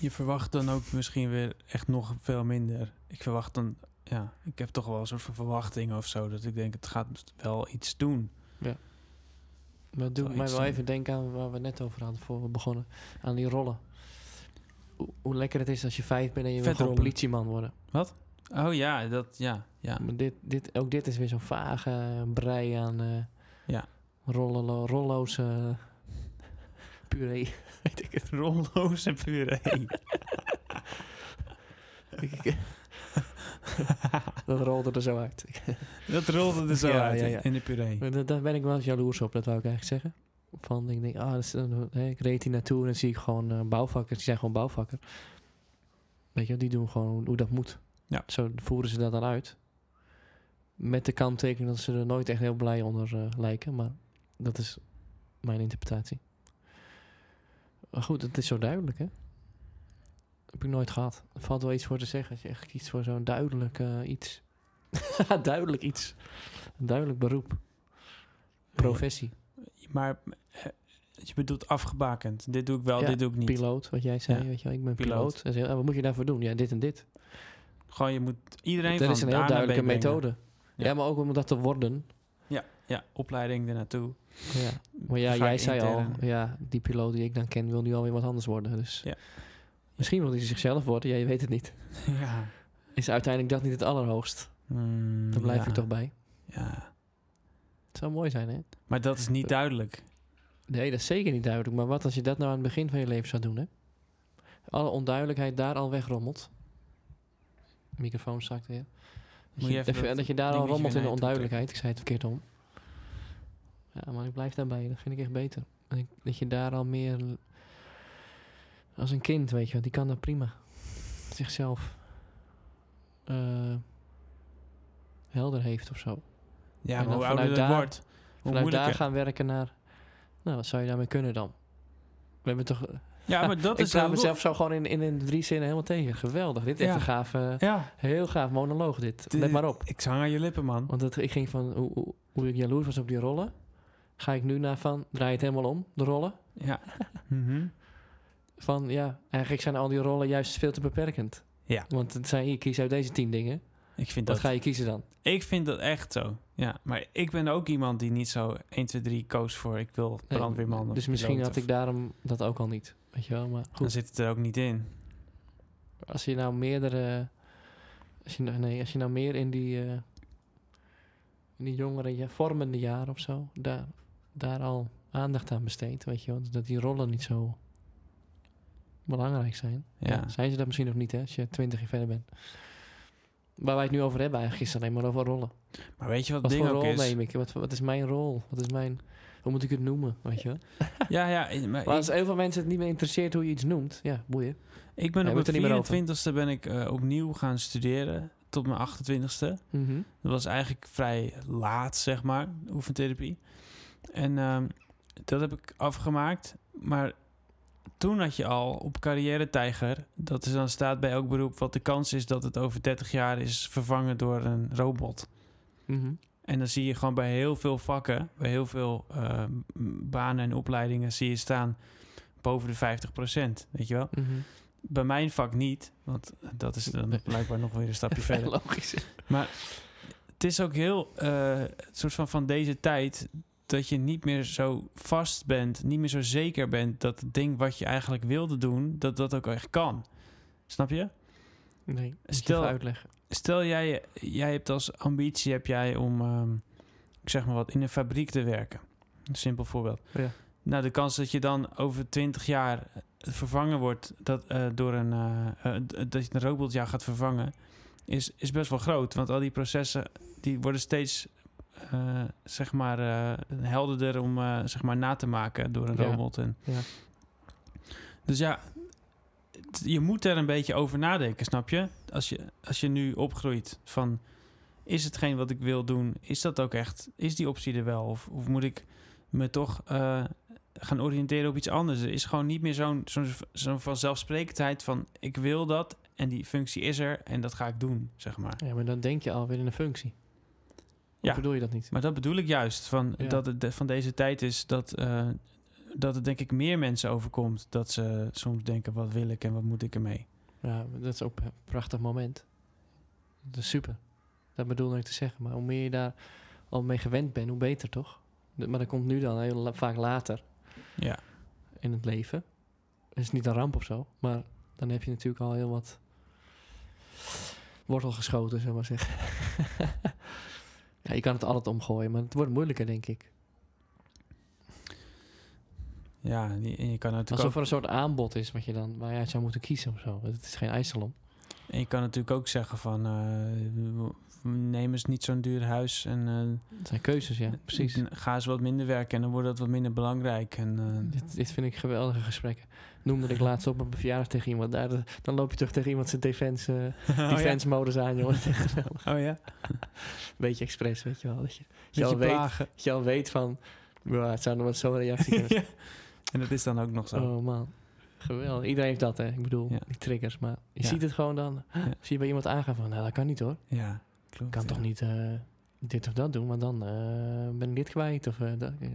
[SPEAKER 1] Je verwacht dan ook misschien weer echt nog veel minder. Ik verwacht dan, ja, ik heb toch wel een soort van verwachting of zo. Dat ik denk, het gaat wel iets doen.
[SPEAKER 2] Dat doet
[SPEAKER 1] Zou
[SPEAKER 2] mij
[SPEAKER 1] iets
[SPEAKER 2] wel
[SPEAKER 1] zijn.
[SPEAKER 2] even denken aan waar we net over hadden voor we begonnen. Aan die rollen. Hoe, hoe lekker het is als je vijf bent en je wil
[SPEAKER 1] Vetrollen.
[SPEAKER 2] gewoon politieman worden.
[SPEAKER 1] Wat? Oh ja, dat, ja, ja.
[SPEAKER 2] Maar dit, dit, ook dit is weer zo'n vage eh, brei aan eh
[SPEAKER 1] Ja.
[SPEAKER 2] rollolo- rollo's eh, puree. Weet ik het.
[SPEAKER 1] Rollo's en puree.
[SPEAKER 2] Dat rolde er zo uit.
[SPEAKER 1] dat rolde er zo
[SPEAKER 2] Ja,
[SPEAKER 1] uit
[SPEAKER 2] ja,
[SPEAKER 1] in-
[SPEAKER 2] ja.
[SPEAKER 1] in de puree.
[SPEAKER 2] Maar dat- Daar ben ik wel eens jaloers op, dat wou ik eigenlijk zeggen. Van, ik denk, ah, dat is, een- hè, ik reed hier naartoe en dan zie ik gewoon eh, bouwvakkers. Die zijn gewoon bouwvakker. Weet je, wel, die doen gewoon hoe dat moet.
[SPEAKER 1] Ja.
[SPEAKER 2] Zo voeren ze dat dan uit. Met de kanttekening dat ze er nooit echt heel blij onder eh, lijken. Maar dat is mijn interpretatie. Maar goed, het is zo duidelijk, hè? Heb ik nooit gehad. Er valt wel iets voor te zeggen als je echt kiest voor zo'n duidelijk eh, iets. duidelijk iets. Een duidelijk beroep. Professie.
[SPEAKER 1] Maar eh, je bedoelt afgebakend. Dit doe ik wel,
[SPEAKER 2] Ja,
[SPEAKER 1] dit doe ik niet.
[SPEAKER 2] Piloot, wat jij zei.
[SPEAKER 1] Ja.
[SPEAKER 2] Weet je wel, ik ben
[SPEAKER 1] Piloot.
[SPEAKER 2] piloot. En ze, ah, wat moet je daarvoor doen? Ja, dit en dit.
[SPEAKER 1] Gewoon, je moet iedereen
[SPEAKER 2] dat
[SPEAKER 1] van
[SPEAKER 2] is een
[SPEAKER 1] A
[SPEAKER 2] heel
[SPEAKER 1] naar B
[SPEAKER 2] duidelijke
[SPEAKER 1] brengen.
[SPEAKER 2] methode.
[SPEAKER 1] Ja.
[SPEAKER 2] Ja. maar ook om dat te worden.
[SPEAKER 1] Ja, opleiding ernaartoe.
[SPEAKER 2] Ja. Maar ja,
[SPEAKER 1] Vaak
[SPEAKER 2] jij zei
[SPEAKER 1] intern.
[SPEAKER 2] al, ja, die piloot die ik dan ken wil nu alweer wat anders worden. Dus
[SPEAKER 1] Ja.
[SPEAKER 2] misschien wil hij zichzelf worden, ja, je weet het niet.
[SPEAKER 1] ja.
[SPEAKER 2] Is uiteindelijk dat niet het allerhoogst?
[SPEAKER 1] Hmm,
[SPEAKER 2] Daar blijf
[SPEAKER 1] ja,
[SPEAKER 2] ik toch bij.
[SPEAKER 1] Ja.
[SPEAKER 2] Het zou mooi zijn, hè?
[SPEAKER 1] Maar dat is niet duidelijk.
[SPEAKER 2] Nee, dat is zeker niet duidelijk. Maar wat als je dat nou aan het begin van je leven zou doen, hè? Alle onduidelijkheid daar al wegrommelt. Microfoon zakt weer. Dat
[SPEAKER 1] Moet
[SPEAKER 2] je,
[SPEAKER 1] je even
[SPEAKER 2] even-
[SPEAKER 1] dat
[SPEAKER 2] dat je daar al
[SPEAKER 1] dingetje
[SPEAKER 2] rommelt in de
[SPEAKER 1] weer naar je toe
[SPEAKER 2] onduidelijkheid. Ik zei het verkeerd om. Ja, maar ik blijf daarbij. Dat vind ik echt beter. En ik- dat je daar al meer... l- Als een kind, weet je wel. Die kan dat prima. Zichzelf... eh, helder heeft of zo.
[SPEAKER 1] Ja,
[SPEAKER 2] En
[SPEAKER 1] maar hoe
[SPEAKER 2] dan
[SPEAKER 1] ouder
[SPEAKER 2] vanuit
[SPEAKER 1] dat
[SPEAKER 2] daar-
[SPEAKER 1] wordt, hoe
[SPEAKER 2] Vanuit daar
[SPEAKER 1] moeilijker.
[SPEAKER 2] gaan werken naar... Nou, wat zou je daarmee kunnen dan? We hebben toch...
[SPEAKER 1] Ja, maar dat
[SPEAKER 2] ik
[SPEAKER 1] is
[SPEAKER 2] sta
[SPEAKER 1] heel
[SPEAKER 2] mezelf zo gewoon in, in, in drie zinnen helemaal tegen. Geweldig. Dit is echt
[SPEAKER 1] Ja.
[SPEAKER 2] een gaaf, eh,
[SPEAKER 1] lo- Ja,
[SPEAKER 2] heel gaaf monoloog dit.
[SPEAKER 1] Dit-
[SPEAKER 2] Let maar op.
[SPEAKER 1] ik zang aan je lippen, man.
[SPEAKER 2] Want het, ik ging van hoe, hoe, hoe ik jaloers was op die rollen. Ga ik nu naar van, draai het helemaal om, de rollen.
[SPEAKER 1] Ja. Mhm.
[SPEAKER 2] Van ja, eigenlijk zijn al die rollen juist veel te beperkend.
[SPEAKER 1] Ja.
[SPEAKER 2] Want het zijn hier, kies uit deze tien dingen.
[SPEAKER 1] Ik vind
[SPEAKER 2] Wat
[SPEAKER 1] dat
[SPEAKER 2] ga je kiezen dan?
[SPEAKER 1] Ik vind dat echt zo. Ja, maar ik ben ook iemand die niet zo 1, 2, 3 koos voor ik wil
[SPEAKER 2] Nee,
[SPEAKER 1] brandweerman. of
[SPEAKER 2] Dus misschien
[SPEAKER 1] piloot
[SPEAKER 2] had
[SPEAKER 1] of-
[SPEAKER 2] ik daarom dat ook al niet. Weet je wel, maar
[SPEAKER 1] Dan
[SPEAKER 2] goed.
[SPEAKER 1] zit het er ook niet in.
[SPEAKER 2] Als je nou meerdere... Als je, nou- nee, als je nou meer in die... eh, in die jongere ja, vormende jaren of zo... Daar, daar al aandacht aan besteedt, weet je wel. Dat die rollen niet zo belangrijk zijn.
[SPEAKER 1] Ja.
[SPEAKER 2] zijn ze dat misschien nog niet, hè? Als je twintig jaar verder bent. Waar wij het nu over hebben eigenlijk is alleen maar over rollen.
[SPEAKER 1] Maar weet je wat
[SPEAKER 2] Wat
[SPEAKER 1] het
[SPEAKER 2] voor
[SPEAKER 1] ding ook
[SPEAKER 2] rol
[SPEAKER 1] is?
[SPEAKER 2] neem ik? Wat, wat is mijn rol? Wat is mijn... Hoe moet ik het noemen, weet je wel?
[SPEAKER 1] Ja, ja. Maar
[SPEAKER 2] Maar
[SPEAKER 1] ik,
[SPEAKER 2] als heel veel mensen het niet meer interesseert hoe je iets noemt... Ja, boeien.
[SPEAKER 1] ik ben
[SPEAKER 2] Nee,
[SPEAKER 1] op
[SPEAKER 2] we hebben
[SPEAKER 1] mijn
[SPEAKER 2] het er niet
[SPEAKER 1] 24ste ben ik eh, opnieuw gaan studeren. Tot mijn 28ste.
[SPEAKER 2] Mhm.
[SPEAKER 1] Dat was eigenlijk vrij laat, zeg maar, oefentherapie. En ehm, dat heb ik afgemaakt. Maar toen had je al op carrière tijger, dat is dan staat bij elk beroep, wat de kans is dat het over 30 jaar is vervangen door een robot.
[SPEAKER 2] Mhm.
[SPEAKER 1] En dan zie je gewoon bij heel veel vakken, bij heel veel ehm, banen en opleidingen, zie je staan boven de 50%. Weet je wel?
[SPEAKER 2] Mhm.
[SPEAKER 1] Bij mijn vak niet, want dat is dan
[SPEAKER 2] Nee.
[SPEAKER 1] blijkbaar nog weer een stapje verder.
[SPEAKER 2] Logisch.
[SPEAKER 1] het is ook heel eh, soort van van deze tijd dat je niet meer zo vast bent, niet meer zo zeker bent dat het ding wat je eigenlijk wilde doen, dat dat ook echt kan. Snap je?
[SPEAKER 2] Nee,
[SPEAKER 1] Stel-
[SPEAKER 2] stel uitleggen.
[SPEAKER 1] Stel jij, jij hebt als ambitie heb jij om, ehm, ik zeg maar wat, in een fabriek te werken. Een simpel voorbeeld.
[SPEAKER 2] Ja.
[SPEAKER 1] Nou, de kans dat je dan over 20 jaar eh, vervangen wordt dat, eh, door een, eh, eh, d- dat je een robot jou gaat vervangen, is, is best wel groot. Want al die processen die worden steeds eh, zeg maar, eh, helderder om eh, zeg maar, na te maken door een
[SPEAKER 2] Ja.
[SPEAKER 1] robot. En,
[SPEAKER 2] Ja.
[SPEAKER 1] Dus ja, t- je moet er een beetje over nadenken, snap je? Als je, als je nu opgroeit van is hetgeen wat ik wil doen, is dat ook echt, is die optie er wel? Of, of moet ik me toch eh, gaan oriënteren op iets anders? Er is gewoon niet meer zo'n zo'n zo'n vanzelfsprekendheid van ik wil dat en die functie is er en dat ga ik doen, zeg maar.
[SPEAKER 2] Ja, maar dan denk je alweer in een functie. Ja.
[SPEAKER 1] Ja.
[SPEAKER 2] Of bedoel je dat niet?
[SPEAKER 1] Maar dat bedoel ik juist, van,
[SPEAKER 2] Ja.
[SPEAKER 1] dat het de- van deze tijd is dat, eh, dat het denk ik meer mensen overkomt dat ze soms denken wat wil ik en wat moet ik ermee.
[SPEAKER 2] Ja, dat is ook een prachtig moment. Dat is super. Dat bedoelde ik te zeggen. Maar hoe meer je daar al mee gewend bent, hoe beter toch? D- Maar dat komt nu dan heel la- vaak later
[SPEAKER 1] Ja.
[SPEAKER 2] in het leven. Het is niet een ramp of zo. Maar dan heb je natuurlijk al heel wat wortel geschoten, zullen we maar zeggen. ja, je kan het altijd omgooien, maar het wordt moeilijker, denk ik.
[SPEAKER 1] Ja, en je- en je kan natuurlijk
[SPEAKER 2] Alsof er een soort aanbod is wat je dan, waar je uit zou moeten kiezen of zo. Het is geen ijssalon.
[SPEAKER 1] En je kan natuurlijk ook zeggen van eh, neem eens niet zo'n duur huis en eh,
[SPEAKER 2] Het zijn keuzes, ja, precies.
[SPEAKER 1] n- ga eens wat minder werken en dan wordt dat wat minder belangrijk. En, eh,
[SPEAKER 2] Dit, dit vind ik geweldige gesprekken. Noemde ik laatst op een verjaardag tegen iemand. Daar, eh, dan loop je terug tegen iemand zijn defense, eh, defense modus aan, jongen.
[SPEAKER 1] oh ja, oh ja.
[SPEAKER 2] Beetje expres, weet je wel. Dat je, dat je,
[SPEAKER 1] Beetje
[SPEAKER 2] al, weet,
[SPEAKER 1] plagen.
[SPEAKER 2] dat je al weet van, "Wow, het zou nog wel zo'n reactie kunnen
[SPEAKER 1] Ja. En dat is dan ook nog zo.
[SPEAKER 2] Oh man, geweldig. Iedereen heeft dat, hè. Ik bedoel,
[SPEAKER 1] Ja.
[SPEAKER 2] die triggers. Maar je
[SPEAKER 1] Ja.
[SPEAKER 2] ziet het gewoon dan. Zie je bij iemand aangaan van, nou, dat kan niet hoor.
[SPEAKER 1] Ja, klopt.
[SPEAKER 2] Ik kan
[SPEAKER 1] ja.
[SPEAKER 2] toch niet eh, dit of dat doen, want dan eh, ben ik dit kwijt. Of, eh, dat, ja.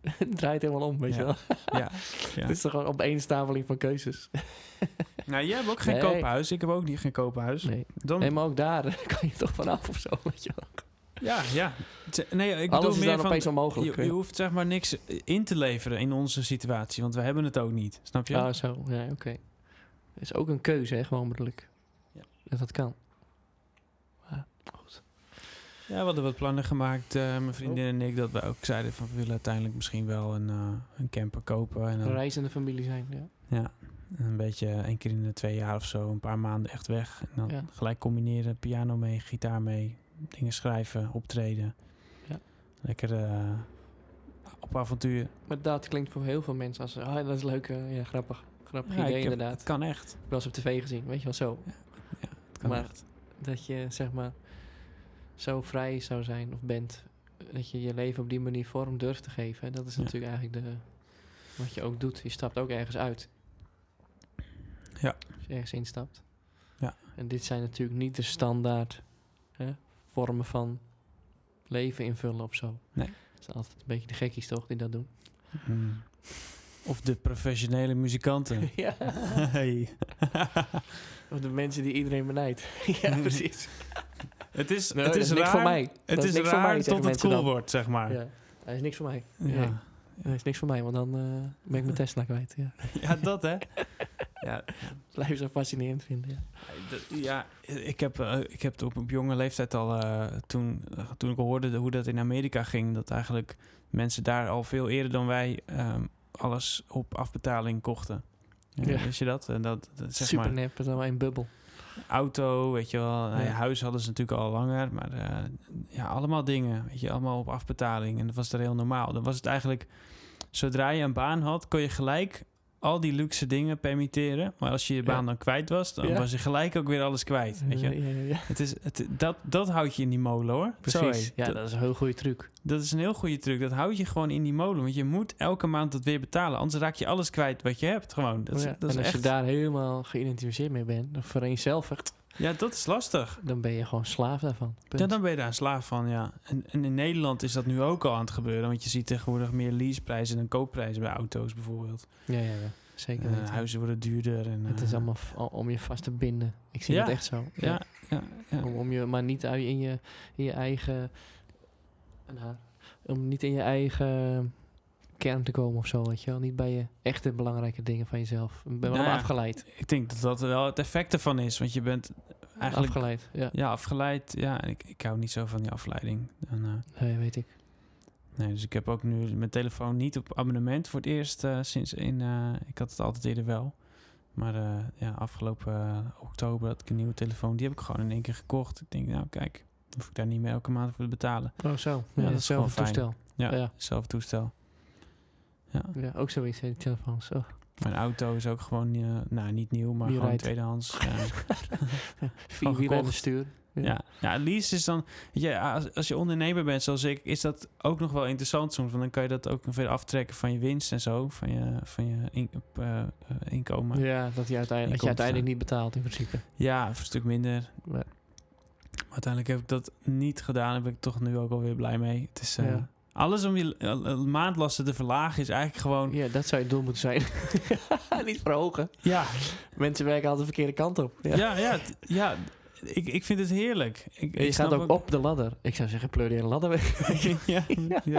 [SPEAKER 2] het draait helemaal om, weet
[SPEAKER 1] Ja.
[SPEAKER 2] je wel.
[SPEAKER 1] Ja.
[SPEAKER 2] Het is toch gewoon opeenstapeling van keuzes.
[SPEAKER 1] Nou, jij hebt ook geen
[SPEAKER 2] Nee.
[SPEAKER 1] koophuis. Ik heb ook niet geen koophuis.
[SPEAKER 2] Nee.
[SPEAKER 1] Dus Dan,
[SPEAKER 2] Nee, maar ook daar eh, kan je toch vanaf of zo, weet je wel.
[SPEAKER 1] ja, ja. Het- Nee, ik bedoel
[SPEAKER 2] Alles is
[SPEAKER 1] meer
[SPEAKER 2] dan
[SPEAKER 1] van,
[SPEAKER 2] opeens onmogelijk.
[SPEAKER 1] Je, je hoeft zeg maar niks in te leveren in onze situatie, want we hebben het ook niet. Snap je?
[SPEAKER 2] Ah, zo. Ja, oké. Het is ook een keuze, hè, gewoon bedoel ik.
[SPEAKER 1] Ja.
[SPEAKER 2] Dat dat kan.
[SPEAKER 1] Ja, we hadden wat plannen gemaakt, eh, mijn vriendin
[SPEAKER 2] Oh.
[SPEAKER 1] en ik, dat we ook zeiden van we willen uiteindelijk misschien wel een, eh, een camper kopen. En dan
[SPEAKER 2] Reizende familie zijn, ja.
[SPEAKER 1] een beetje eh, één keer in de twee jaar of zo, een paar maanden echt weg. En dan
[SPEAKER 2] Ja.
[SPEAKER 1] gelijk combineren, piano mee, gitaar mee, dingen schrijven, optreden.
[SPEAKER 2] Ja.
[SPEAKER 1] Lekker eh, op avontuur.
[SPEAKER 2] Maar dat klinkt voor heel veel mensen als... Ah, dat is leuk. eh, ja, grappig. Grappig
[SPEAKER 1] Ja, ik
[SPEAKER 2] idee,
[SPEAKER 1] heb-
[SPEAKER 2] inderdaad.
[SPEAKER 1] Het kan echt.
[SPEAKER 2] Ik was op tv gezien, weet je wel, zo.
[SPEAKER 1] Het kan
[SPEAKER 2] Maar-
[SPEAKER 1] echt.
[SPEAKER 2] Dat je, zeg maar, zo vrij zou zijn of bent. Dat je je leven op die manier vorm durft te geven. Dat is
[SPEAKER 1] Ja.
[SPEAKER 2] natuurlijk eigenlijk de, wat je ook doet. Je stapt ook ergens uit.
[SPEAKER 1] Ja.
[SPEAKER 2] Als je ergens instapt.
[SPEAKER 1] Ja.
[SPEAKER 2] En dit zijn natuurlijk niet de standaard hè, vormen van leven invullen of zo.
[SPEAKER 1] Nee.
[SPEAKER 2] Het zijn altijd een beetje de gekkies, toch, die dat doen?
[SPEAKER 1] Hmm. Of de professionele muzikanten.
[SPEAKER 2] ja.
[SPEAKER 1] Hey.
[SPEAKER 2] Of de mensen die iedereen benijdt. ja, precies.
[SPEAKER 1] Het is,
[SPEAKER 2] Nee,
[SPEAKER 1] Mm. Nou, het
[SPEAKER 2] dat
[SPEAKER 1] is,
[SPEAKER 2] niks
[SPEAKER 1] raar,
[SPEAKER 2] voor mij.
[SPEAKER 1] Het
[SPEAKER 2] Dat
[SPEAKER 1] is
[SPEAKER 2] niks
[SPEAKER 1] raar
[SPEAKER 2] voor mij, zeggen
[SPEAKER 1] tot het
[SPEAKER 2] mensen
[SPEAKER 1] cool
[SPEAKER 2] dan.
[SPEAKER 1] wordt, zeg maar.
[SPEAKER 2] Ja, hij is niks voor mij. Nee.
[SPEAKER 1] Ja.
[SPEAKER 2] Dat is niks voor mij, want dan eh, ben ik mijn Tesla kwijt. Ja.
[SPEAKER 1] ja, dat hè. Ja,
[SPEAKER 2] Blijf zo fascinerend vinden. Ja.
[SPEAKER 1] Dat- Ja, ik heb, eh, ik heb het op, op jonge leeftijd al, eh, toen, toen ik hoorde de- hoe dat in Amerika ging, dat eigenlijk mensen daar al veel eerder dan wij ehm, alles op afbetaling kochten. Ja,
[SPEAKER 2] Ja.
[SPEAKER 1] Wist je dat? En dat, dat zeg
[SPEAKER 2] Super
[SPEAKER 1] maar,
[SPEAKER 2] nep, dat is allemaal één bubbel.
[SPEAKER 1] auto, weet je wel. Nou ja,
[SPEAKER 2] Ja.
[SPEAKER 1] huis hadden ze natuurlijk al langer, maar eh, ja, allemaal dingen, weet je, allemaal op afbetaling. En dat was daar heel normaal. Dan was het eigenlijk, zodra je een baan had, kon je gelijk al die luxe dingen permitteren. Maar als je je baan
[SPEAKER 2] Ja.
[SPEAKER 1] dan kwijt was, dan
[SPEAKER 2] Ja.
[SPEAKER 1] was je gelijk ook weer alles kwijt, weet je.
[SPEAKER 2] Ja, ja, ja.
[SPEAKER 1] Het is, het, dat, dat houdt je in die molen hoor.
[SPEAKER 2] Precies.
[SPEAKER 1] Sorry.
[SPEAKER 2] Ja,
[SPEAKER 1] dat,
[SPEAKER 2] dat is een heel goede truc.
[SPEAKER 1] dat is een heel goede truc. Dat houdt je gewoon in die molen. Want je moet elke maand dat weer betalen. Anders raak je alles kwijt wat je hebt. Gewoon. Dat is,
[SPEAKER 2] Oh Ja.
[SPEAKER 1] dat is
[SPEAKER 2] en als
[SPEAKER 1] echt,
[SPEAKER 2] je daar helemaal geïdentificeerd mee bent, of vereenzelvigd,
[SPEAKER 1] Ja, dat is lastig.
[SPEAKER 2] dan ben je gewoon slaaf daarvan. Punt.
[SPEAKER 1] Ja, dan ben je daar een slaaf van. Ja. En, en in Nederland is dat nu ook al aan het gebeuren. Want je ziet tegenwoordig meer leaseprijzen dan koopprijzen bij auto's bijvoorbeeld.
[SPEAKER 2] ja, ja, ja. zeker
[SPEAKER 1] Eh,
[SPEAKER 2] weten.
[SPEAKER 1] huizen worden duurder. En,
[SPEAKER 2] Het
[SPEAKER 1] eh,
[SPEAKER 2] is allemaal f- o- om je vast te binden. Ik zie
[SPEAKER 1] Ja.
[SPEAKER 2] het echt zo.
[SPEAKER 1] Ja, ja, ja.
[SPEAKER 2] Om, om je, maar niet ui- in je, in je eigen... Een haar. Om niet in je eigen kern te komen of zo, weet je wel. Niet bij je echte belangrijke dingen van jezelf. Ik ben wel
[SPEAKER 1] Nou ja,
[SPEAKER 2] afgeleid.
[SPEAKER 1] Ik denk dat dat wel het effect ervan is. Want je bent eigenlijk...
[SPEAKER 2] Afgeleid, ja.
[SPEAKER 1] Ja, afgeleid. Ja, en ik, ik hou niet zo van die afleiding. En, eh,
[SPEAKER 2] Nee, weet ik.
[SPEAKER 1] Nee, dus ik heb ook nu mijn telefoon niet op abonnement voor het eerst eh, sinds in. eh, ik had het altijd eerder wel. Maar eh, ja, afgelopen eh, oktober had ik een nieuwe telefoon. Die heb ik gewoon in één keer gekocht. Ik denk, nou kijk, hoef ik daar niet meer elke maand voor te betalen.
[SPEAKER 2] Oh, zo. Ja,
[SPEAKER 1] Ja, dat
[SPEAKER 2] dat
[SPEAKER 1] is
[SPEAKER 2] is zelf
[SPEAKER 1] gewoon
[SPEAKER 2] een toestel.
[SPEAKER 1] Ja,
[SPEAKER 2] Ja.
[SPEAKER 1] zelf toestel. Ja,
[SPEAKER 2] Ja, ook zoiets, hè, die telefoons. Oh,
[SPEAKER 1] mijn auto is ook gewoon, eh, nou niet nieuw, maar
[SPEAKER 2] Wie
[SPEAKER 1] gewoon
[SPEAKER 2] rijdt?
[SPEAKER 1] tweedehands. eh, ja.
[SPEAKER 2] vier wielen en een
[SPEAKER 1] gekocht.
[SPEAKER 2] stuur.
[SPEAKER 1] Ja, ja lease is dan... Ja, als, als je ondernemer bent zoals ik, is dat ook nog wel interessant soms. Want dan kan je dat ook nog weer aftrekken van je winst en zo. Van je, van je in- op, eh, eh, inkomen. Ja.
[SPEAKER 2] ja, dat, die uiteindelijk, dat je
[SPEAKER 1] Inkomsten.
[SPEAKER 2] uiteindelijk niet betaalt in principe.
[SPEAKER 1] voor een stuk minder.
[SPEAKER 2] Ja.
[SPEAKER 1] Maar uiteindelijk heb ik dat niet gedaan. Daar ben ik toch nu ook alweer blij mee. Het is... eh,
[SPEAKER 2] Ja.
[SPEAKER 1] Alles om je eh, eh, maandlasten te verlagen is eigenlijk gewoon...
[SPEAKER 2] Ja, dat zou je doel moeten zijn. niet verhogen.
[SPEAKER 1] Ja,
[SPEAKER 2] Mensen werken altijd de verkeerde kant op. Ja.
[SPEAKER 1] ja, ja. t- ja, ik, ik vind het heerlijk. Ik,
[SPEAKER 2] je
[SPEAKER 1] ik
[SPEAKER 2] gaat
[SPEAKER 1] snap
[SPEAKER 2] ook, op de ladder. Ik zou zeggen, pleur die hele ladder weg.
[SPEAKER 1] ja, ja.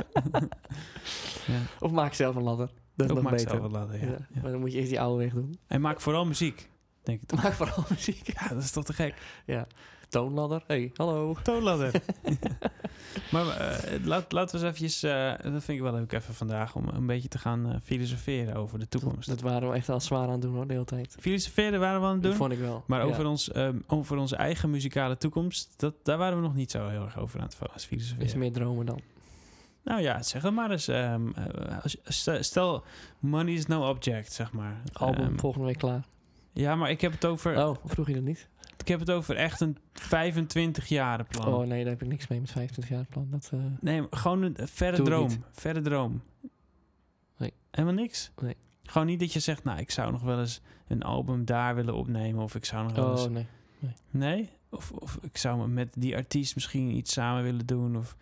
[SPEAKER 1] ja.
[SPEAKER 2] Of maak zelf een ladder. Dat is
[SPEAKER 1] Ook
[SPEAKER 2] nog
[SPEAKER 1] maakt
[SPEAKER 2] beter.
[SPEAKER 1] zelf wel laten, ja.
[SPEAKER 2] Ja,
[SPEAKER 1] ja.
[SPEAKER 2] Maar dan moet je eerst die oude weg doen.
[SPEAKER 1] En maak vooral muziek, denk ik toch.
[SPEAKER 2] Maak vooral muziek.
[SPEAKER 1] Ja, dat is toch te gek.
[SPEAKER 2] Ja. Toonladder. hey, hallo.
[SPEAKER 1] Toonladder. maar eh, laat, laten we eens eventjes, eh, dat vind ik wel leuk even vandaag, om een beetje te gaan eh, filosoferen over de toekomst.
[SPEAKER 2] Dat waren we echt al zwaar aan het doen hoor, de hele tijd.
[SPEAKER 1] Filosoferen waren we aan het
[SPEAKER 2] Dat
[SPEAKER 1] doen,
[SPEAKER 2] vond ik wel.
[SPEAKER 1] maar
[SPEAKER 2] Ja.
[SPEAKER 1] over, ons, ehm, over onze eigen muzikale toekomst, dat, daar waren we nog niet zo heel erg over aan het
[SPEAKER 2] Is
[SPEAKER 1] filosoferen.
[SPEAKER 2] meer dromen dan.
[SPEAKER 1] Nou ja, zeg het maar eens. ehm, eh, als je- stel- stel, money is no object, zeg maar.
[SPEAKER 2] Album
[SPEAKER 1] Ehm,
[SPEAKER 2] volgende week klaar.
[SPEAKER 1] ja, maar ik heb het over,
[SPEAKER 2] Oh, of vroeg je dat niet?
[SPEAKER 1] ik heb het over echt een 25 jaren plan.
[SPEAKER 2] Oh nee, daar heb ik niks mee met 25 jaar plan. Dat, eh,
[SPEAKER 1] Nee, maar gewoon een een verre
[SPEAKER 2] Doe het
[SPEAKER 1] droom.
[SPEAKER 2] niet.
[SPEAKER 1] Verre droom.
[SPEAKER 2] Nee.
[SPEAKER 1] Helemaal niks?
[SPEAKER 2] Nee.
[SPEAKER 1] Gewoon niet dat je zegt, nou, ik zou nog wel eens een album daar willen opnemen. Of ik zou nog wel
[SPEAKER 2] oh
[SPEAKER 1] eens...
[SPEAKER 2] nee.
[SPEAKER 1] Nee? Of, of ik zou met die artiest misschien iets samen willen doen. Of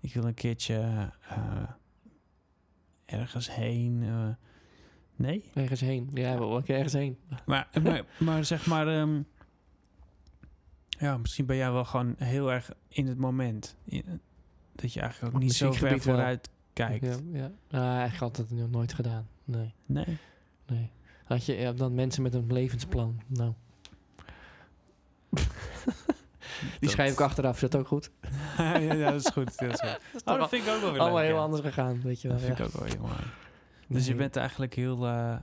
[SPEAKER 1] ik wil een keertje eh, ergens heen. eh. nee?
[SPEAKER 2] Ergens heen. Ja, wel een keer ergens heen.
[SPEAKER 1] Maar, eh, maar, maar zeg maar... ehm, ja, misschien ben jij wel gewoon heel erg in het moment. In- dat je eigenlijk ook
[SPEAKER 2] Op
[SPEAKER 1] niet zo ver
[SPEAKER 2] muziekgebied wel.
[SPEAKER 1] vooruit kijkt.
[SPEAKER 2] Ja, ja. Nou, eigenlijk had dat nog nooit gedaan. Nee,
[SPEAKER 1] Nee.
[SPEAKER 2] nee. Had je ja, dan mensen met een levensplan? Nou. Die
[SPEAKER 1] Dat-
[SPEAKER 2] schrijf ik achteraf, is dat ook goed?
[SPEAKER 1] ja, ja, dat is goed. Dat, is goed. Oh, dat vind ik ook wel weer
[SPEAKER 2] Allemaal
[SPEAKER 1] leuk,
[SPEAKER 2] heel
[SPEAKER 1] ja.
[SPEAKER 2] anders gegaan, weet je wel.
[SPEAKER 1] Dat vind
[SPEAKER 2] ja.
[SPEAKER 1] ik ook wel heel mooi. Dus je
[SPEAKER 2] Nee.
[SPEAKER 1] bent eigenlijk heel, eh,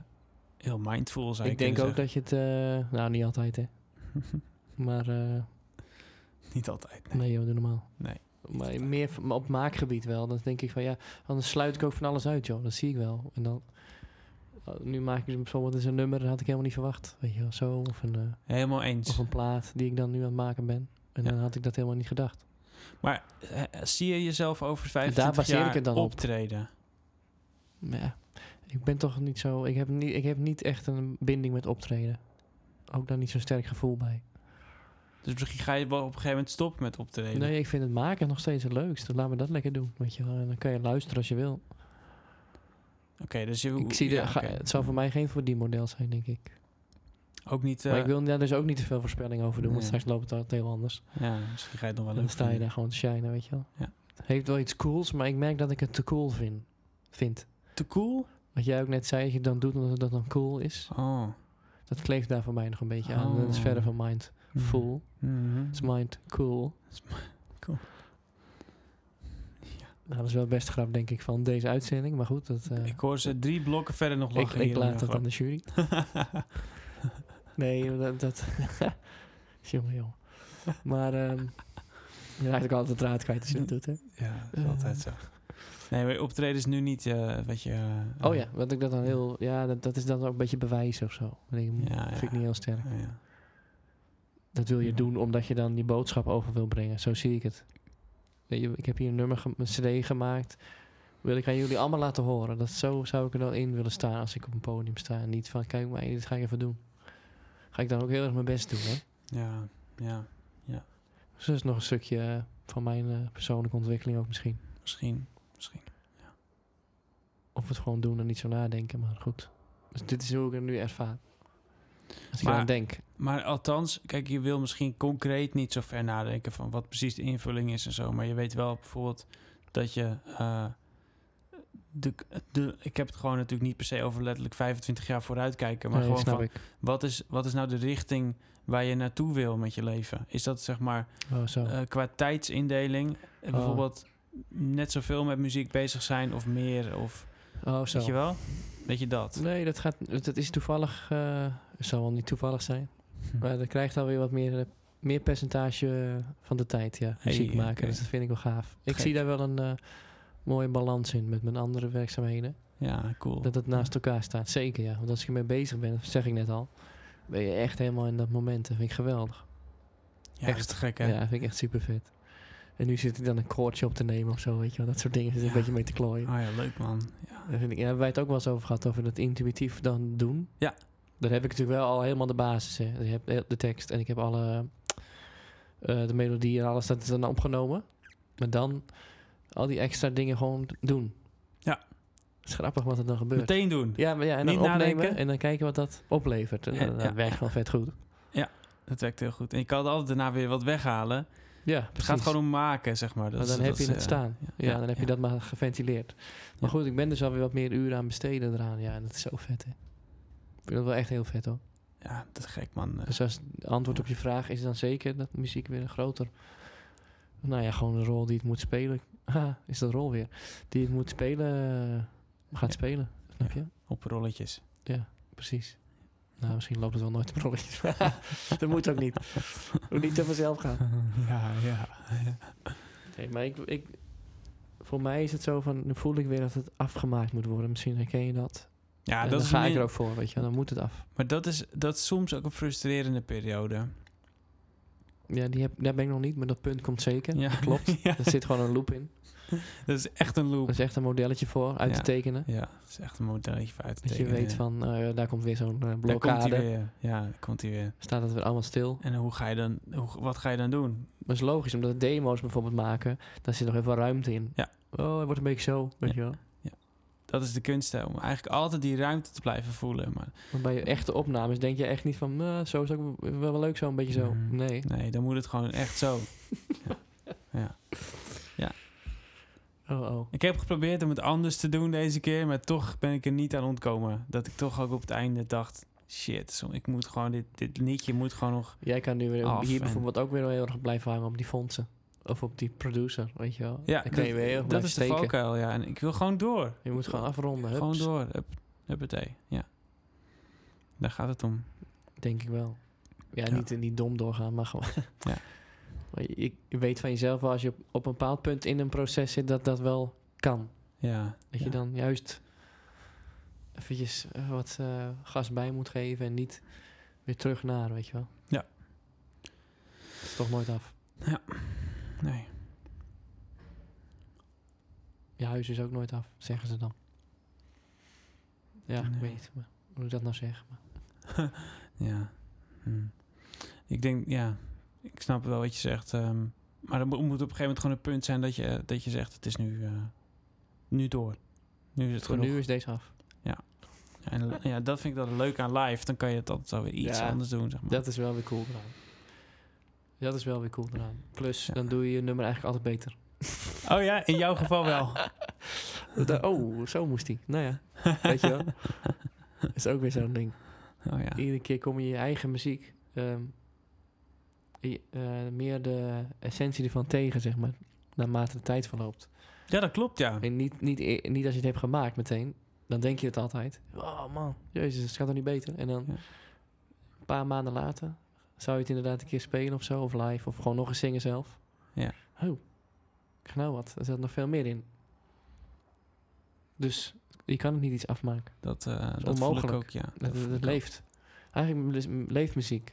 [SPEAKER 1] heel mindful, zou je
[SPEAKER 2] Ik denk
[SPEAKER 1] kunnen
[SPEAKER 2] ook dat je het... eh, nou, niet altijd hè.
[SPEAKER 1] zeggen.
[SPEAKER 2] Maar eh,
[SPEAKER 1] Niet altijd, nee.
[SPEAKER 2] nee joh, doe normaal.
[SPEAKER 1] Nee,
[SPEAKER 2] Maar meer v- maar op maakgebied wel. Dan denk ik van ja, anders sluit ik ook van alles uit joh. Dat zie ik wel. En dan... oh, Nu maak ik bijvoorbeeld eens een nummer, dat had ik helemaal niet verwacht. Weet je wel, zo. Of een, eh,
[SPEAKER 1] Helemaal
[SPEAKER 2] of
[SPEAKER 1] eens.
[SPEAKER 2] een plaat die ik dan nu aan het maken ben. En
[SPEAKER 1] Ja.
[SPEAKER 2] dan had ik dat helemaal niet gedacht.
[SPEAKER 1] Maar eh, zie je jezelf over 25
[SPEAKER 2] Daar baseer
[SPEAKER 1] jaar
[SPEAKER 2] ik het dan op.
[SPEAKER 1] optreden?
[SPEAKER 2] Maar ja, ik ben toch niet zo. Ik heb niet, ik heb niet echt een binding met optreden. Ook daar niet zo'n sterk gevoel bij.
[SPEAKER 1] Dus misschien ga je wel op een gegeven moment stoppen met optreden.
[SPEAKER 2] Nee, ik vind het maken nog steeds het leukste. Laat me dat lekker doen. Weet je wel. En dan kan je luisteren als je wil.
[SPEAKER 1] Oké, dus je...
[SPEAKER 2] Ik zie de,
[SPEAKER 1] ja,
[SPEAKER 2] ga-
[SPEAKER 1] oké.
[SPEAKER 2] het zou voor mij geen verdienmodel zijn, denk ik.
[SPEAKER 1] Ook niet... eh,
[SPEAKER 2] Maar ik wil daar dus ook niet te veel voorspelling over doen. Want
[SPEAKER 1] Nee.
[SPEAKER 2] straks loopt het altijd heel anders.
[SPEAKER 1] Ja, misschien ga je het nog wel
[SPEAKER 2] en dan
[SPEAKER 1] leuk
[SPEAKER 2] sta je
[SPEAKER 1] vinden.
[SPEAKER 2] daar gewoon te shinen, weet je wel.
[SPEAKER 1] Ja.
[SPEAKER 2] Het heeft wel iets cools, maar ik merk dat ik het te cool vind. vind.
[SPEAKER 1] Te cool?
[SPEAKER 2] Wat jij ook net zei, dat je het dan doet omdat het dat dan cool is.
[SPEAKER 1] Oh.
[SPEAKER 2] Dat kleeft daar voor mij nog een beetje aan.
[SPEAKER 1] Oh. Mm.
[SPEAKER 2] Dat is verder van mind. Full.
[SPEAKER 1] Mhm.
[SPEAKER 2] Is mind cool.
[SPEAKER 1] Cool.
[SPEAKER 2] Nou, dat is wel best grap, denk ik, van deze uitzending. Maar goed, dat, eh,
[SPEAKER 1] Ik hoor ze drie blokken verder nog
[SPEAKER 2] ik,
[SPEAKER 1] lachen.
[SPEAKER 2] ik
[SPEAKER 1] hier in
[SPEAKER 2] laat
[SPEAKER 1] de
[SPEAKER 2] dat aan de jury.
[SPEAKER 1] grap.
[SPEAKER 2] Nee, dat... dat jongen, jongen. Maar ehm je raakt ook altijd de draad kwijt als je dat doet, hè?
[SPEAKER 1] Ja, dat is altijd zo. Nee, maar optreden is nu niet, eh wat je... eh,
[SPEAKER 2] Oh ja, want ik dat dan heel... Ja, dat, dat is dan ook een beetje bewijs of zo. Dat denk ik,
[SPEAKER 1] Ja,
[SPEAKER 2] vind
[SPEAKER 1] ja.
[SPEAKER 2] ik niet heel sterk.
[SPEAKER 1] ja, eh, ja.
[SPEAKER 2] Dat wil je
[SPEAKER 1] Ja.
[SPEAKER 2] doen omdat je dan die boodschap over wil brengen. Zo zie ik het. Weet je, Ik heb hier een nummer, gem- een cd gemaakt. Wil ik aan jullie allemaal laten horen. Dat zo zou ik er dan in willen staan als ik op een podium sta. En niet van, kijk maar, dit ga ik even doen. Ga ik dan ook heel erg mijn best doen, hè.
[SPEAKER 1] Ja, ja,
[SPEAKER 2] Dus dat is nog een stukje eh, van mijn eh, persoonlijke ontwikkeling ook misschien.
[SPEAKER 1] misschien, misschien.
[SPEAKER 2] Of het gewoon doen en niet zo nadenken, maar goed. Dus dit is hoe ik het nu ervaar. Als ik
[SPEAKER 1] Maar-
[SPEAKER 2] eraan denk.
[SPEAKER 1] Maar althans, kijk, je wil misschien concreet niet zo ver nadenken van wat precies de invulling is en zo. Maar je weet wel bijvoorbeeld dat je... eh, de, de, ik heb het gewoon natuurlijk niet per se over letterlijk 25 jaar vooruitkijken. Maar
[SPEAKER 2] Nee,
[SPEAKER 1] gewoon
[SPEAKER 2] snap
[SPEAKER 1] van,
[SPEAKER 2] ik.
[SPEAKER 1] wat is, wat is nou de richting waar je naartoe wil met je leven? Is dat zeg maar
[SPEAKER 2] Oh, zo.
[SPEAKER 1] Eh, qua tijdsindeling. eh,
[SPEAKER 2] Oh.
[SPEAKER 1] Bijvoorbeeld net zoveel met muziek bezig zijn of meer. Of
[SPEAKER 2] oh, zo.
[SPEAKER 1] weet je wel? Weet je dat?
[SPEAKER 2] Nee, dat, gaat, dat is toevallig. eh zal wel niet toevallig zijn. Maar dat krijgt alweer wat meer, eh, meer percentage eh, van de tijd. Ja,
[SPEAKER 1] Hey,
[SPEAKER 2] muziek maken.
[SPEAKER 1] oké.
[SPEAKER 2] Dus dat vind ik wel gaaf. Ik
[SPEAKER 1] Gek.
[SPEAKER 2] zie daar wel een eh, mooie balans in met mijn andere werkzaamheden.
[SPEAKER 1] Ja, cool.
[SPEAKER 2] Dat het naast elkaar staat. Zeker ja. Want als ik ermee bezig ben, dat zeg ik net al. Ben je echt helemaal in dat moment. Dat vind ik geweldig.
[SPEAKER 1] ja, dat is te gek, hè?
[SPEAKER 2] Ja, dat vind ik echt super vet. En nu zit ik dan een koortje op te nemen of zo, weet je wel. Dat soort dingen zit ik een beetje mee te klooien.
[SPEAKER 1] Oh ja, leuk man. Ja.
[SPEAKER 2] Daar vind ik, ja, hebben wij het ook wel eens over gehad, over dat intuïtief dan doen.
[SPEAKER 1] Ja.
[SPEAKER 2] Daar heb ik natuurlijk wel al helemaal de basis. Hè. Dus Ik heb heel- eh, de tekst en ik heb alle eh, de melodie en alles, dat is dan opgenomen. Maar dan al die extra dingen gewoon doen.
[SPEAKER 1] Ja.
[SPEAKER 2] Het is grappig wat er dan gebeurt.
[SPEAKER 1] Meteen doen.
[SPEAKER 2] Ja, maar ja, en dan
[SPEAKER 1] Niet
[SPEAKER 2] opnemen
[SPEAKER 1] nadenken.
[SPEAKER 2] en dan kijken wat dat oplevert. En
[SPEAKER 1] Ja,
[SPEAKER 2] dat
[SPEAKER 1] ja.
[SPEAKER 2] werkt wel vet goed.
[SPEAKER 1] Dat werkt heel goed. En je kan er altijd daarna weer wat weghalen.
[SPEAKER 2] Ja,
[SPEAKER 1] Het gaat gewoon om maken, zeg maar. Dat
[SPEAKER 2] Maar
[SPEAKER 1] is-
[SPEAKER 2] dan heb
[SPEAKER 1] dat
[SPEAKER 2] je
[SPEAKER 1] is,
[SPEAKER 2] het
[SPEAKER 1] eh,
[SPEAKER 2] staan. Ja,
[SPEAKER 1] ja,
[SPEAKER 2] dan heb je
[SPEAKER 1] ja.
[SPEAKER 2] dat maar geventileerd. Maar goed, ik ben dus alweer wat meer uren aan besteden eraan. Ja, dat is zo vet, hè. Ik vind dat wel echt heel vet, hoor.
[SPEAKER 1] Ja, Ja, dat is gek, man. Eh,
[SPEAKER 2] Dus als het antwoord op je vraag is dan zeker dat muziek weer een groter. Nou ja, gewoon de rol die het moet spelen. Ha, is de rol weer. Die het moet spelen, eh, gaat
[SPEAKER 1] Ja.
[SPEAKER 2] spelen. Snap je?
[SPEAKER 1] op rolletjes.
[SPEAKER 2] Precies. Nou, misschien loopt het wel nooit op rolletjes. dat moet ook niet. Moet niet te vanzelf gaan.
[SPEAKER 1] ja, ja.
[SPEAKER 2] Nee, maar ik, ik, voor mij is het zo van, nu voel ik weer dat het afgemaakt moet worden. Misschien herken je dat.
[SPEAKER 1] Ja,
[SPEAKER 2] En
[SPEAKER 1] Ah, dat
[SPEAKER 2] dan
[SPEAKER 1] is
[SPEAKER 2] ga ik
[SPEAKER 1] min-
[SPEAKER 2] er ook voor, weet je. wel. Dan moet het af.
[SPEAKER 1] Maar dat is, dat is soms ook een frustrerende periode.
[SPEAKER 2] Ja, die heb, daar ben ik nog niet, maar dat punt komt zeker.
[SPEAKER 1] Ja,
[SPEAKER 2] klopt.
[SPEAKER 1] ja,
[SPEAKER 2] Er zit gewoon een loop in.
[SPEAKER 1] dat is echt een
[SPEAKER 2] Er
[SPEAKER 1] loop.
[SPEAKER 2] is echt een modelletje voor uit
[SPEAKER 1] Ja.
[SPEAKER 2] te tekenen.
[SPEAKER 1] Ja, dat is echt een modelletje voor uit te
[SPEAKER 2] Dat je
[SPEAKER 1] tekenen.
[SPEAKER 2] weet van, eh, daar komt weer zo'n eh,
[SPEAKER 1] Daar komt hij
[SPEAKER 2] blokkade.
[SPEAKER 1] weer. Ja, daar komt hij weer.
[SPEAKER 2] Staat het weer allemaal stil.
[SPEAKER 1] En hoe ga je dan, hoe, wat ga je dan doen?
[SPEAKER 2] Dat is logisch, omdat de demo's bijvoorbeeld maken, daar zit nog even ruimte in.
[SPEAKER 1] Ja.
[SPEAKER 2] Oh, het wordt een beetje zo, weet je wel.
[SPEAKER 1] Dat is de kunst, hè, om eigenlijk altijd die ruimte te blijven voelen. Maar
[SPEAKER 2] Want bij je echte opnames denk je echt niet van, "Nou, zo is ook wel, wel leuk zo, een beetje zo.
[SPEAKER 1] Mhm.
[SPEAKER 2] Nee.
[SPEAKER 1] nee, dan moet het gewoon echt zo.
[SPEAKER 2] Oh, oh.
[SPEAKER 1] Ik heb geprobeerd om het anders te doen deze keer, maar toch ben ik er niet aan ontkomen. Dat ik toch ook op het einde dacht, shit, zo- ik moet gewoon dit, dit liedje moet gewoon nog...
[SPEAKER 2] Jij kan nu weer
[SPEAKER 1] Af
[SPEAKER 2] hier
[SPEAKER 1] en-
[SPEAKER 2] bijvoorbeeld ook weer heel erg blijven hangen op die fondsen. Of op die producer, weet je wel.
[SPEAKER 1] Ja,
[SPEAKER 2] Dan kan je
[SPEAKER 1] dat-
[SPEAKER 2] weer heel erg
[SPEAKER 1] dat
[SPEAKER 2] blijven
[SPEAKER 1] is de
[SPEAKER 2] steken.
[SPEAKER 1] valkuil, ja. En ik wil gewoon door.
[SPEAKER 2] Je moet gewoon afronden, hups,
[SPEAKER 1] Gewoon door. Hup, huppatee, ja. Daar gaat het om.
[SPEAKER 2] denk ik wel. Ja,
[SPEAKER 1] Ja.
[SPEAKER 2] Niet, niet dom doorgaan, maar gewoon...
[SPEAKER 1] Ja.
[SPEAKER 2] Maar je, je weet van jezelf wel, als je op, op een bepaald punt in een proces zit, dat dat wel kan.
[SPEAKER 1] Ja.
[SPEAKER 2] Dat
[SPEAKER 1] ja.
[SPEAKER 2] je dan juist eventjes eh, wat eh, gas bij moet geven en niet weer terug naar, weet je wel.
[SPEAKER 1] Ja.
[SPEAKER 2] Het is toch nooit af.
[SPEAKER 1] Nee.
[SPEAKER 2] Je huis is ook nooit af, zeggen ze dan. Ja,
[SPEAKER 1] Nee.
[SPEAKER 2] ik weet maar hoe ik dat nou zeg. Maar
[SPEAKER 1] Ja. Hm. Ik denk, ja, ik snap wel wat je zegt. ehm, maar er mo- moet op een gegeven moment gewoon een punt zijn dat je, dat je zegt, het is nu, eh, nu door. Nu is het
[SPEAKER 2] voor
[SPEAKER 1] genoeg.
[SPEAKER 2] nu is deze af.
[SPEAKER 1] En ja, dat vind ik dan leuk aan live. Dan kan je het altijd wel weer iets
[SPEAKER 2] Ja,
[SPEAKER 1] anders doen, zeg maar.
[SPEAKER 2] Dat is wel weer cool eraan. Dat is wel weer cool eraan. Plus,
[SPEAKER 1] Ja.
[SPEAKER 2] dan doe je je nummer eigenlijk altijd beter.
[SPEAKER 1] Oh ja, in jouw geval wel.
[SPEAKER 2] Da- oh, zo moest hij. Nou ja, weet je wel. is ook weer zo'n ding.
[SPEAKER 1] Oh ja.
[SPEAKER 2] Iedere keer kom je je eigen muziek ehm, i- eh, meer de essentie ervan tegen, zeg maar. Naarmate de tijd verloopt.
[SPEAKER 1] Ja, dat klopt, ja.
[SPEAKER 2] En niet, niet, e- niet als je het hebt gemaakt meteen. Dan denk je het altijd. Oh man, jezus, het gaat toch niet beter. En dan
[SPEAKER 1] Ja.
[SPEAKER 2] een paar maanden later zou je het inderdaad een keer spelen of zo. Of live. Of gewoon nog eens zingen zelf.
[SPEAKER 1] Ja.
[SPEAKER 2] Oh, ik nou wat. Er zat nog veel meer in. Dus je kan het niet iets afmaken.
[SPEAKER 1] Dat, eh, dat, voel ik
[SPEAKER 2] onmogelijk.
[SPEAKER 1] ook, ja.
[SPEAKER 2] Dat,
[SPEAKER 1] voel
[SPEAKER 2] dat,
[SPEAKER 1] ik ook.
[SPEAKER 2] leeft. Eigenlijk le- m- leeft muziek.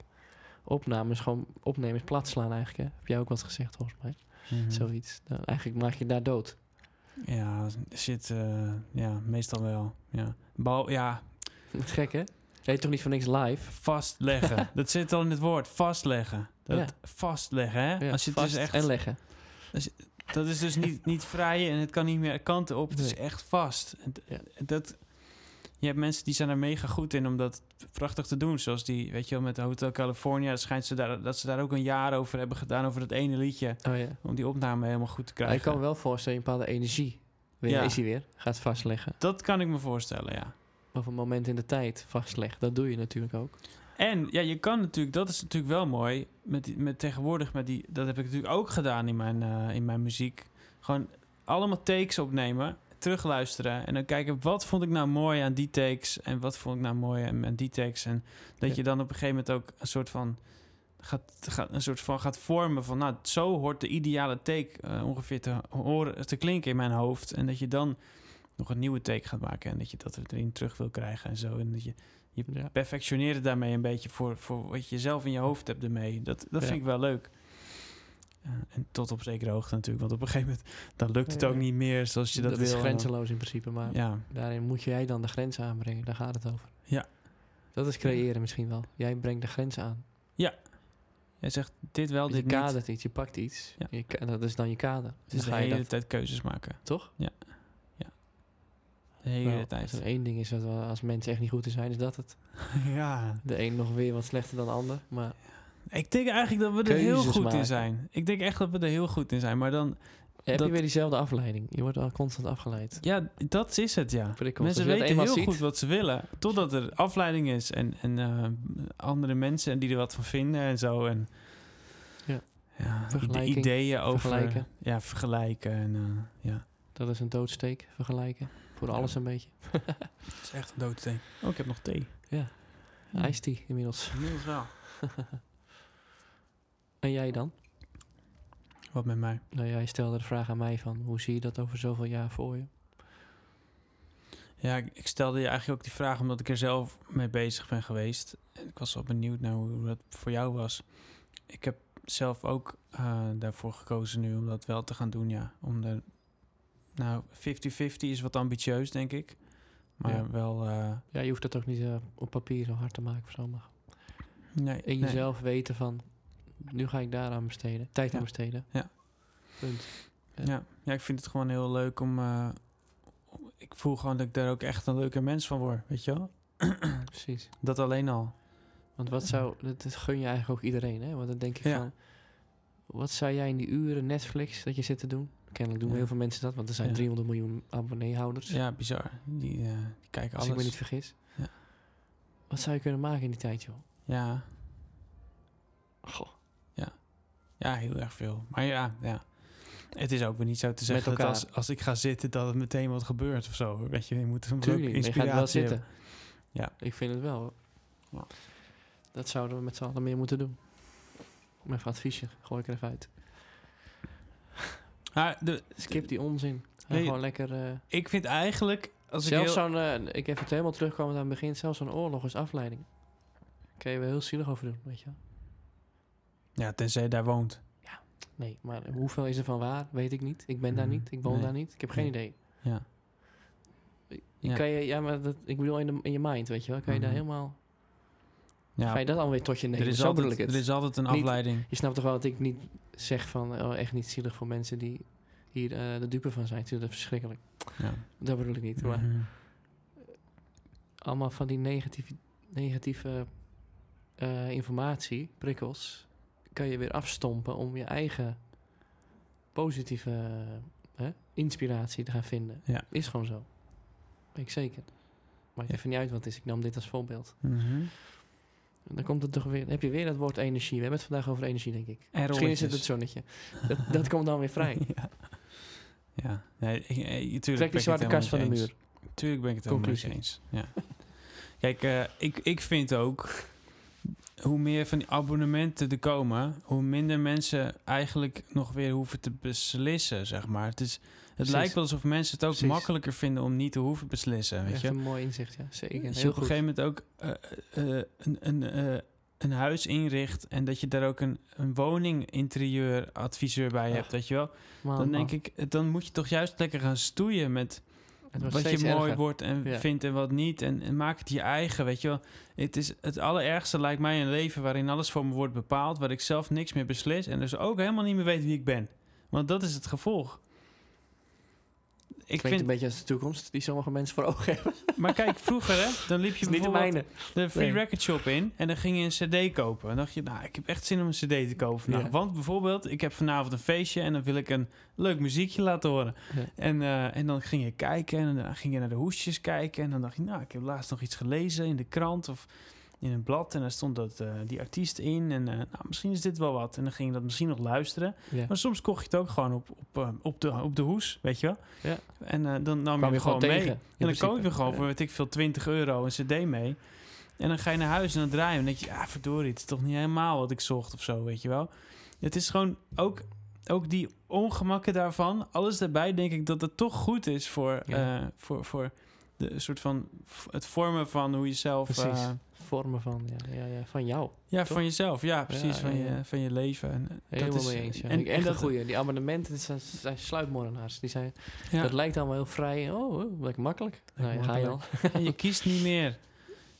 [SPEAKER 2] Opnames, gewoon opnames platslaan eigenlijk. Hè? Heb jij ook wat gezegd volgens mij?
[SPEAKER 1] Mhm.
[SPEAKER 2] Zoiets. Nou, eigenlijk maak je daar dood.
[SPEAKER 1] Ja, shit, eh, ja, meestal wel. Ja, Bal, ja
[SPEAKER 2] Wat gek hè? Je heet toch niet voor niks live?
[SPEAKER 1] vastleggen. dat zit al in het woord, vastleggen. Dat
[SPEAKER 2] Ja.
[SPEAKER 1] Vastleggen, hè?
[SPEAKER 2] Ja,
[SPEAKER 1] Als je het
[SPEAKER 2] vast
[SPEAKER 1] dus echt,
[SPEAKER 2] En leggen.
[SPEAKER 1] dat is dus niet, niet vrij en het kan niet meer kanten op. Het is echt vast. En d-
[SPEAKER 2] Ja.
[SPEAKER 1] en dat, je hebt mensen die zijn er mega goed in om dat prachtig te doen. Zoals die, weet je wel, met Hotel California. Dat schijnt ze daar, dat ze daar ook een jaar over hebben gedaan, over dat ene liedje.
[SPEAKER 2] Oh ja.
[SPEAKER 1] Om die opname helemaal goed te
[SPEAKER 2] Maar
[SPEAKER 1] krijgen.
[SPEAKER 2] ik kan me wel voorstellen, een bepaalde energie. Weer,
[SPEAKER 1] Ja.
[SPEAKER 2] Is hij weer? Gaat vastleggen.
[SPEAKER 1] Dat kan ik me voorstellen, ja.
[SPEAKER 2] Of een moment in de tijd vastleggen. Dat doe je natuurlijk ook.
[SPEAKER 1] En ja, je kan natuurlijk, dat is natuurlijk wel mooi. Met, die- met tegenwoordig, met die, dat heb ik natuurlijk ook gedaan in mijn, eh, in mijn muziek. Gewoon allemaal takes opnemen, terugluisteren. En dan kijken wat vond ik nou mooi aan die takes. En wat vond ik nou mooi aan, aan die takes. En dat
[SPEAKER 2] Ja.
[SPEAKER 1] je dan op een gegeven moment ook een soort van. Gaat, gaat, een soort van gaat vormen van, nou, zo hoort de ideale take eh, ongeveer te, horen, te klinken in mijn hoofd. En dat je dan nog een nieuwe take gaat maken en dat je dat erin terug wil krijgen en zo. En dat je
[SPEAKER 2] Ja.
[SPEAKER 1] perfectioneer het daarmee een beetje voor, voor wat je zelf in je hoofd hebt ermee. Dat, dat
[SPEAKER 2] Ja.
[SPEAKER 1] vind ik wel leuk. Ja, en tot op zekere hoogte natuurlijk, want op een gegeven moment dan lukt het
[SPEAKER 2] Ja,
[SPEAKER 1] ook
[SPEAKER 2] ja.
[SPEAKER 1] niet meer zoals je dat,
[SPEAKER 2] dat
[SPEAKER 1] wil.
[SPEAKER 2] is
[SPEAKER 1] en dan-
[SPEAKER 2] grenzeloos in principe, maar
[SPEAKER 1] Ja,
[SPEAKER 2] daarin moet jij dan de grens aanbrengen. Daar gaat het over.
[SPEAKER 1] Ja.
[SPEAKER 2] Dat is creëren misschien wel. Jij brengt de grens aan.
[SPEAKER 1] jij zegt dit wel,
[SPEAKER 2] Want
[SPEAKER 1] dit
[SPEAKER 2] je
[SPEAKER 1] niet.
[SPEAKER 2] kadert iets, je pakt iets.
[SPEAKER 1] Ja.
[SPEAKER 2] Je ka- dat is dan je kader.
[SPEAKER 1] Dus de
[SPEAKER 2] ga je
[SPEAKER 1] hele
[SPEAKER 2] dat-
[SPEAKER 1] tijd keuzes maken.
[SPEAKER 2] Toch?
[SPEAKER 1] Ja. ja. De hele
[SPEAKER 2] Wel,
[SPEAKER 1] tijd.
[SPEAKER 2] Als er één ding is dat we als mensen echt niet goed in zijn, is dat het.
[SPEAKER 1] ja.
[SPEAKER 2] De een nog weer wat slechter dan de ander. Maar
[SPEAKER 1] Ik denk eigenlijk dat we er heel
[SPEAKER 2] Keuzes
[SPEAKER 1] goed in
[SPEAKER 2] maken.
[SPEAKER 1] zijn. Ik denk echt dat we er heel goed in zijn, maar dan...
[SPEAKER 2] Heb
[SPEAKER 1] dat-
[SPEAKER 2] je weer diezelfde afleiding? Je wordt al constant afgeleid.
[SPEAKER 1] Ja, dat is het, ja.
[SPEAKER 2] Prikkels.
[SPEAKER 1] Mensen
[SPEAKER 2] Als je
[SPEAKER 1] weten
[SPEAKER 2] dat eenmaal
[SPEAKER 1] heel
[SPEAKER 2] ziet-
[SPEAKER 1] goed wat ze willen. Totdat er afleiding is en, en eh, andere mensen die er wat van vinden en zo. En,
[SPEAKER 2] Ja.
[SPEAKER 1] ja ide-
[SPEAKER 2] Vergelijking,
[SPEAKER 1] ideeën over...
[SPEAKER 2] vergelijken.
[SPEAKER 1] Ja, vergelijken. En, eh, ja.
[SPEAKER 2] Dat is een doodsteek vergelijken. Voor
[SPEAKER 1] Ja.
[SPEAKER 2] alles een beetje.
[SPEAKER 1] Het is echt een doodsteek. Oh, ik heb nog thee.
[SPEAKER 2] Ja.
[SPEAKER 1] Hmm.
[SPEAKER 2] Iced tea inmiddels.
[SPEAKER 1] Inmiddels wel.
[SPEAKER 2] En jij dan?
[SPEAKER 1] Wat met mij?
[SPEAKER 2] Nou, jij stelde de vraag aan mij van... Hoe zie je dat over zoveel jaar voor je?
[SPEAKER 1] Ja, ik, ik stelde je eigenlijk ook die vraag omdat ik er zelf mee bezig ben geweest. En ik was wel benieuwd naar hoe, hoe dat voor jou was. Ik heb zelf ook eh, daarvoor gekozen nu om dat wel te gaan doen, ja. Om de, nou, 50-50 is wat ambitieus, denk ik. Maar
[SPEAKER 2] Ja.
[SPEAKER 1] wel... eh,
[SPEAKER 2] Ja, je hoeft dat ook niet eh, op papier zo hard te maken voor allemaal.
[SPEAKER 1] nee,
[SPEAKER 2] In
[SPEAKER 1] nee.
[SPEAKER 2] jezelf weten van... Nu ga ik daaraan besteden. Tijd
[SPEAKER 1] Ja.
[SPEAKER 2] aan besteden.
[SPEAKER 1] Ja.
[SPEAKER 2] Punt.
[SPEAKER 1] Ja. ja, ik vind het gewoon heel leuk om... eh, ik voel gewoon dat ik daar ook echt een leuke mens van word, weet je wel?
[SPEAKER 2] Precies.
[SPEAKER 1] Dat alleen al.
[SPEAKER 2] Want wat zou... Dat, dat gun je eigenlijk ook iedereen, hè? Want dan denk ik
[SPEAKER 1] Ja.
[SPEAKER 2] van... Wat zou jij in die uren Netflix dat je zit te doen? Kennelijk doen
[SPEAKER 1] Ja.
[SPEAKER 2] heel veel mensen dat. Want er zijn
[SPEAKER 1] Ja.
[SPEAKER 2] 300 miljoen abonneehouders.
[SPEAKER 1] Ja, bizar. Die, eh, die kijken
[SPEAKER 2] Als
[SPEAKER 1] alles.
[SPEAKER 2] ik me niet vergis.
[SPEAKER 1] Ja.
[SPEAKER 2] Wat zou je kunnen maken in die tijd, joh?
[SPEAKER 1] Ja,
[SPEAKER 2] Goh,
[SPEAKER 1] Ja, heel erg veel. Maar ja, ja. Het is ook weer niet zo te zeggen dat
[SPEAKER 2] elkaar.
[SPEAKER 1] als, als ik ga zitten, dat het meteen wat gebeurt of zo. Weet je, je moet soms ook
[SPEAKER 2] tuurlijk. maar Je gaat wel
[SPEAKER 1] inspiratie
[SPEAKER 2] zitten.
[SPEAKER 1] hebben. Ja.
[SPEAKER 2] Ik vind het wel. hoor.
[SPEAKER 1] Ja.
[SPEAKER 2] Dat zouden we met z'n allen meer moeten doen. Mijn adviesje, gooi ik er even uit.
[SPEAKER 1] Maar de,
[SPEAKER 2] Skip die onzin. Ga
[SPEAKER 1] Nee,
[SPEAKER 2] gewoon lekker... eh,
[SPEAKER 1] ik vind eigenlijk, als ik
[SPEAKER 2] zelfs
[SPEAKER 1] heel...
[SPEAKER 2] zo'n... eh, ik even helemaal terugkomen aan het begin. Zelfs zo'n oorlog is afleiding. Kun je wel heel zielig over doen, weet je wel.
[SPEAKER 1] Ja, tenzij je daar woont.
[SPEAKER 2] Nee, maar hoeveel is er van waar, weet ik niet. Ik ben daar
[SPEAKER 1] Mhm.
[SPEAKER 2] niet, ik woon
[SPEAKER 1] Nee.
[SPEAKER 2] daar niet. Ik heb
[SPEAKER 1] Nee.
[SPEAKER 2] geen idee.
[SPEAKER 1] Ja.
[SPEAKER 2] Je
[SPEAKER 1] Ja.
[SPEAKER 2] Kan je, ja, maar dat, ik bedoel in, de, in je mind, weet je wel. Kan je
[SPEAKER 1] Mhm.
[SPEAKER 2] daar helemaal...
[SPEAKER 1] Ja,
[SPEAKER 2] Ga je dat alweer tot je nemen?
[SPEAKER 1] er, is
[SPEAKER 2] Zo bedoel
[SPEAKER 1] altijd,
[SPEAKER 2] ik het.
[SPEAKER 1] er is altijd een
[SPEAKER 2] Niet-
[SPEAKER 1] afleiding.
[SPEAKER 2] Je snapt toch wel dat ik niet zeg van... Oh, echt niet zielig voor mensen die hier eh, de dupe van zijn. Ik vind dat verschrikkelijk.
[SPEAKER 1] Ja.
[SPEAKER 2] Dat bedoel ik niet. Maar
[SPEAKER 1] Mhm.
[SPEAKER 2] allemaal van die negatieve, negatieve eh, informatie, prikkels... kan je weer afstompen om je eigen positieve eh, inspiratie te gaan vinden.
[SPEAKER 1] Ja.
[SPEAKER 2] Is gewoon zo. Weet ik zeker. Maakt
[SPEAKER 1] Ja.
[SPEAKER 2] even niet uit wat het is. Ik nam dit als voorbeeld.
[SPEAKER 1] Mhm.
[SPEAKER 2] En dan komt het toch weer... dan heb je weer dat woord energie. We hebben het vandaag over energie, denk ik.
[SPEAKER 1] En
[SPEAKER 2] Misschien is het het
[SPEAKER 1] rolletjes.
[SPEAKER 2] zonnetje. Dat, dat komt dan weer vrij.
[SPEAKER 1] ja. ja, nee, ik, eh, tuurlijk ben
[SPEAKER 2] Trek
[SPEAKER 1] ik
[SPEAKER 2] die
[SPEAKER 1] het
[SPEAKER 2] zwarte
[SPEAKER 1] helemaal
[SPEAKER 2] kast van de
[SPEAKER 1] met je eens.
[SPEAKER 2] muur.
[SPEAKER 1] Tuurlijk ben ik het helemaal met je eens. Ja. Kijk, eh, ik, ik vind ook... hoe meer van die abonnementen er komen... hoe minder mensen eigenlijk nog weer hoeven te beslissen, zeg maar. Het, is, het
[SPEAKER 2] Precies.
[SPEAKER 1] lijkt wel alsof mensen het ook
[SPEAKER 2] Precies.
[SPEAKER 1] makkelijker vinden... om niet te hoeven beslissen, weet
[SPEAKER 2] Echt
[SPEAKER 1] je.
[SPEAKER 2] een mooi inzicht, ja. Zeker.
[SPEAKER 1] Dat je
[SPEAKER 2] Heel
[SPEAKER 1] op een
[SPEAKER 2] goed.
[SPEAKER 1] gegeven moment ook eh, eh, een, een, eh, een huis inricht... en dat je daar ook een, een woninginterieuradviseur bij
[SPEAKER 2] Ach,
[SPEAKER 1] hebt, weet je wel.
[SPEAKER 2] Man,
[SPEAKER 1] Dan denk
[SPEAKER 2] man.
[SPEAKER 1] ik, eh, dan moet je toch juist lekker gaan stoeien met
[SPEAKER 2] Het wordt
[SPEAKER 1] wat je
[SPEAKER 2] steeds
[SPEAKER 1] mooi
[SPEAKER 2] erger.
[SPEAKER 1] wordt en
[SPEAKER 2] Ja.
[SPEAKER 1] vindt en wat niet. En, en maak het je eigen, weet je wel. Het, is het allerergste lijkt mij een leven waarin alles voor me wordt bepaald. Waar ik zelf niks meer beslis. En dus ook helemaal niet meer weet wie ik ben. Want dat is het gevolg. Ik
[SPEAKER 2] Klinkt een
[SPEAKER 1] vind,
[SPEAKER 2] beetje als de toekomst die sommige mensen voor ogen hebben.
[SPEAKER 1] maar kijk, vroeger hè, dan liep je
[SPEAKER 2] Het is niet de
[SPEAKER 1] bijvoorbeeld
[SPEAKER 2] mijne.
[SPEAKER 1] de free
[SPEAKER 2] Nee.
[SPEAKER 1] record shop in en dan ging je een cd kopen. En dacht je, nou, ik heb echt zin om een cd te kopen vandaag.
[SPEAKER 2] Ja.
[SPEAKER 1] Want bijvoorbeeld, ik heb vanavond een feestje en dan wil ik een leuk muziekje laten horen.
[SPEAKER 2] Ja.
[SPEAKER 1] En, eh, en dan ging je kijken en dan ging je naar de hoesjes kijken. En dan dacht je, nou, ik heb laatst nog iets gelezen in de krant of in een blad. En daar stond dat, eh, die artiest in en eh, nou, misschien is dit wel wat. En dan ging je dat misschien nog luisteren.
[SPEAKER 2] Ja.
[SPEAKER 1] Maar soms kocht je het ook gewoon op, op, eh, op, de, op de hoes, weet je wel.
[SPEAKER 2] Ja.
[SPEAKER 1] En eh, dan nam je
[SPEAKER 2] Kwam
[SPEAKER 1] hem
[SPEAKER 2] je
[SPEAKER 1] gewoon
[SPEAKER 2] gewoon
[SPEAKER 1] mee.
[SPEAKER 2] tegen.
[SPEAKER 1] En dan koop je gewoon voor, weet ik veel, 20 euro een cd mee. En dan ga je naar huis en dan draai je hem. En dan denk je, ja, verdorie, het is toch niet helemaal wat ik zocht of zo, weet je wel. Het is gewoon ook, ook die ongemakken daarvan. Alles daarbij denk ik dat het toch goed is voor,
[SPEAKER 2] Ja.
[SPEAKER 1] eh, voor, voor de soort van v- het vormen van hoe je zelf...
[SPEAKER 2] Precies.
[SPEAKER 1] eh,
[SPEAKER 2] Vormen van, ja, ja, ja, van jou.
[SPEAKER 1] ja,
[SPEAKER 2] Toch?
[SPEAKER 1] van jezelf. Ja, precies.
[SPEAKER 2] ja,
[SPEAKER 1] van,
[SPEAKER 2] ja.
[SPEAKER 1] Je, van je leven. En, eh,
[SPEAKER 2] Helemaal
[SPEAKER 1] is,
[SPEAKER 2] mee eens. Ja.
[SPEAKER 1] En,
[SPEAKER 2] En,
[SPEAKER 1] en,
[SPEAKER 2] echt een
[SPEAKER 1] dat,
[SPEAKER 2] goeie. Die abonnementen dat zijn, zijn sluipmoordenaars. Die zijn,
[SPEAKER 1] ja,
[SPEAKER 2] Dat lijkt allemaal heel vrij. Oh, oh, lekker makkelijk. Nou, ja, ga je al.
[SPEAKER 1] en je kiest niet meer.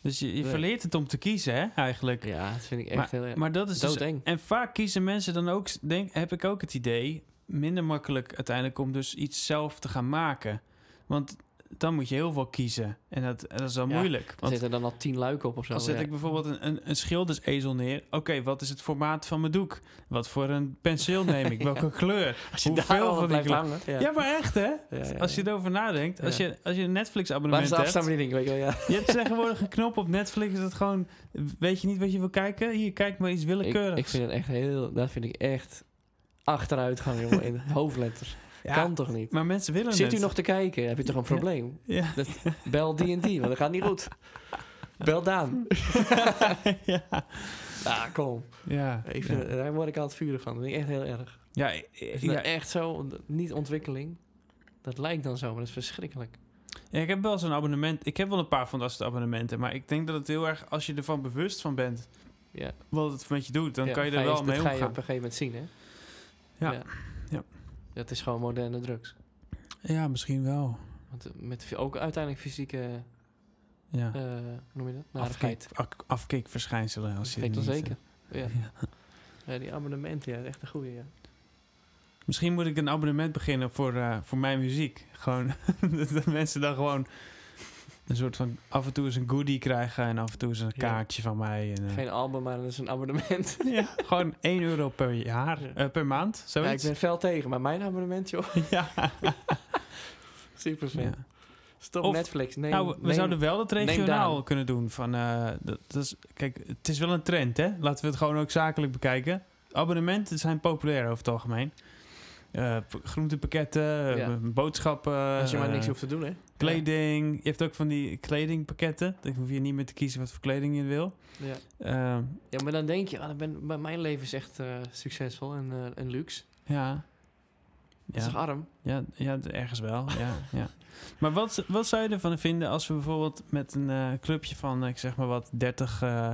[SPEAKER 1] Dus je, je
[SPEAKER 2] Nee.
[SPEAKER 1] verleert het om te kiezen, hè, eigenlijk.
[SPEAKER 2] Ja, dat vind ik echt heel erg.
[SPEAKER 1] Maar dat is dus
[SPEAKER 2] Doodeng.
[SPEAKER 1] En vaak kiezen mensen dan ook, denk, heb ik ook het idee, minder makkelijk uiteindelijk om dus iets zelf te gaan maken. Want dan moet je heel veel kiezen. En dat, dat is dan
[SPEAKER 2] Ja,
[SPEAKER 1] moeilijk.
[SPEAKER 2] Er
[SPEAKER 1] Want
[SPEAKER 2] zitten dan al tien luiken op of zo.
[SPEAKER 1] dan zet
[SPEAKER 2] ja.
[SPEAKER 1] ik bijvoorbeeld een, een, een schildersezel neer. Oké, wat is het formaat van mijn doek? Wat voor een penseel neem ik?
[SPEAKER 2] Ja.
[SPEAKER 1] Welke kleur?
[SPEAKER 2] Als je
[SPEAKER 1] hoeveel
[SPEAKER 2] daar al
[SPEAKER 1] van die
[SPEAKER 2] blijft
[SPEAKER 1] kleur-
[SPEAKER 2] hangen. Ja.
[SPEAKER 1] Ja, maar echt hè?
[SPEAKER 2] Ja, ja,
[SPEAKER 1] Als je
[SPEAKER 2] ja.
[SPEAKER 1] erover nadenkt, als
[SPEAKER 2] Ja.
[SPEAKER 1] je, als je een
[SPEAKER 2] Waar
[SPEAKER 1] Netflix-abonnement
[SPEAKER 2] is de
[SPEAKER 1] hebt,
[SPEAKER 2] afstandsbediening? Weet je wel, ja.
[SPEAKER 1] je hebt tegenwoordig een knop op Netflix dat gewoon, weet je niet wat je wil kijken? Hier, kijk maar iets
[SPEAKER 2] Ik,
[SPEAKER 1] willekeurigs.
[SPEAKER 2] ik vind het echt heel... Dat vind ik echt achteruitgang, jongen. In hoofdletters.
[SPEAKER 1] Ja,
[SPEAKER 2] Kan toch niet?
[SPEAKER 1] maar mensen willen
[SPEAKER 2] Zit
[SPEAKER 1] het.
[SPEAKER 2] u nog te kijken? Heb je toch een probleem?
[SPEAKER 1] Ja.
[SPEAKER 2] Bel die en die, want dat gaat niet goed. Bel Daan.
[SPEAKER 1] ja.
[SPEAKER 2] Ah, kom.
[SPEAKER 1] Ja.
[SPEAKER 2] Ik vind,
[SPEAKER 1] ja.
[SPEAKER 2] Daar word ik altijd vurig van. Dat vind ik echt heel erg.
[SPEAKER 1] Ja, ik- ik-
[SPEAKER 2] Is
[SPEAKER 1] ja,
[SPEAKER 2] dat echt zo? Niet ontwikkeling. Dat lijkt dan zo, maar dat is verschrikkelijk.
[SPEAKER 1] ja, ik heb wel zo'n abonnement. Ik heb wel een paar van dat soort abonnementen. Maar ik denk dat het heel erg, als je ervan bewust van bent,
[SPEAKER 2] Ja.
[SPEAKER 1] wat het met je doet, dan
[SPEAKER 2] Ja,
[SPEAKER 1] kan je
[SPEAKER 2] ga
[SPEAKER 1] er wel mee
[SPEAKER 2] Dat ga je op
[SPEAKER 1] omgaan.
[SPEAKER 2] een gegeven moment zien, hè?
[SPEAKER 1] Ja. Ja.
[SPEAKER 2] Dat is gewoon moderne drugs.
[SPEAKER 1] Ja, misschien wel.
[SPEAKER 2] Want eh, met fy- ook uiteindelijk fysieke,
[SPEAKER 1] Ja.
[SPEAKER 2] eh, hoe noem je dat?
[SPEAKER 1] Afkik,
[SPEAKER 2] Narigheid.
[SPEAKER 1] ak- afkikverschijnselen. Als je
[SPEAKER 2] Weet
[SPEAKER 1] het
[SPEAKER 2] wel
[SPEAKER 1] niet,
[SPEAKER 2] zeker.
[SPEAKER 1] eh,
[SPEAKER 2] Ja.
[SPEAKER 1] ja.
[SPEAKER 2] Ja, die abonnementen, ja, dat is echt een goede. Ja.
[SPEAKER 1] Misschien moet ik een abonnement beginnen voor, eh, voor mijn muziek. Gewoon dat dat mensen dan gewoon een soort van af en toe eens een goodie krijgen en af en toe eens een
[SPEAKER 2] Ja.
[SPEAKER 1] kaartje van mij. En, eh,
[SPEAKER 2] Geen album, maar dat is een abonnement.
[SPEAKER 1] ja, gewoon 1 euro per jaar,
[SPEAKER 2] Ja.
[SPEAKER 1] eh, per maand,
[SPEAKER 2] Ja,
[SPEAKER 1] zoiets.
[SPEAKER 2] ik ben fel tegen, maar mijn abonnement, joh.
[SPEAKER 1] Ja.
[SPEAKER 2] Super fan.
[SPEAKER 1] Ja.
[SPEAKER 2] Stop
[SPEAKER 1] Of-
[SPEAKER 2] Netflix. Nee,
[SPEAKER 1] nou, we zouden wel dat
[SPEAKER 2] neem
[SPEAKER 1] regionaal
[SPEAKER 2] Daan.
[SPEAKER 1] kunnen doen. Van, eh, dat, dat is, kijk, het is wel een trend, hè? Laten we het gewoon ook zakelijk bekijken. Abonnementen zijn populair over het algemeen. Eh, p- groentepakketten, eh, boodschappen.
[SPEAKER 2] Als je maar
[SPEAKER 1] eh,
[SPEAKER 2] niks hoeft te doen, hè?
[SPEAKER 1] Kleding. Je hebt ook van die kledingpakketten. Dan hoef je niet meer te kiezen wat voor kleding je wil.
[SPEAKER 2] Ja.
[SPEAKER 1] Ehm,
[SPEAKER 2] ja, maar dan denk je, ah, dan ben, maar mijn leven is echt eh, succesvol en, eh, en luxe.
[SPEAKER 1] ja.
[SPEAKER 2] Dat is
[SPEAKER 1] Ja,
[SPEAKER 2] toch arm?
[SPEAKER 1] ja, ja, ergens wel. Ja, ja. Maar wat, wat zou je ervan vinden als we bijvoorbeeld met een eh, clubje van, eh, ik zeg maar wat, 30 eh,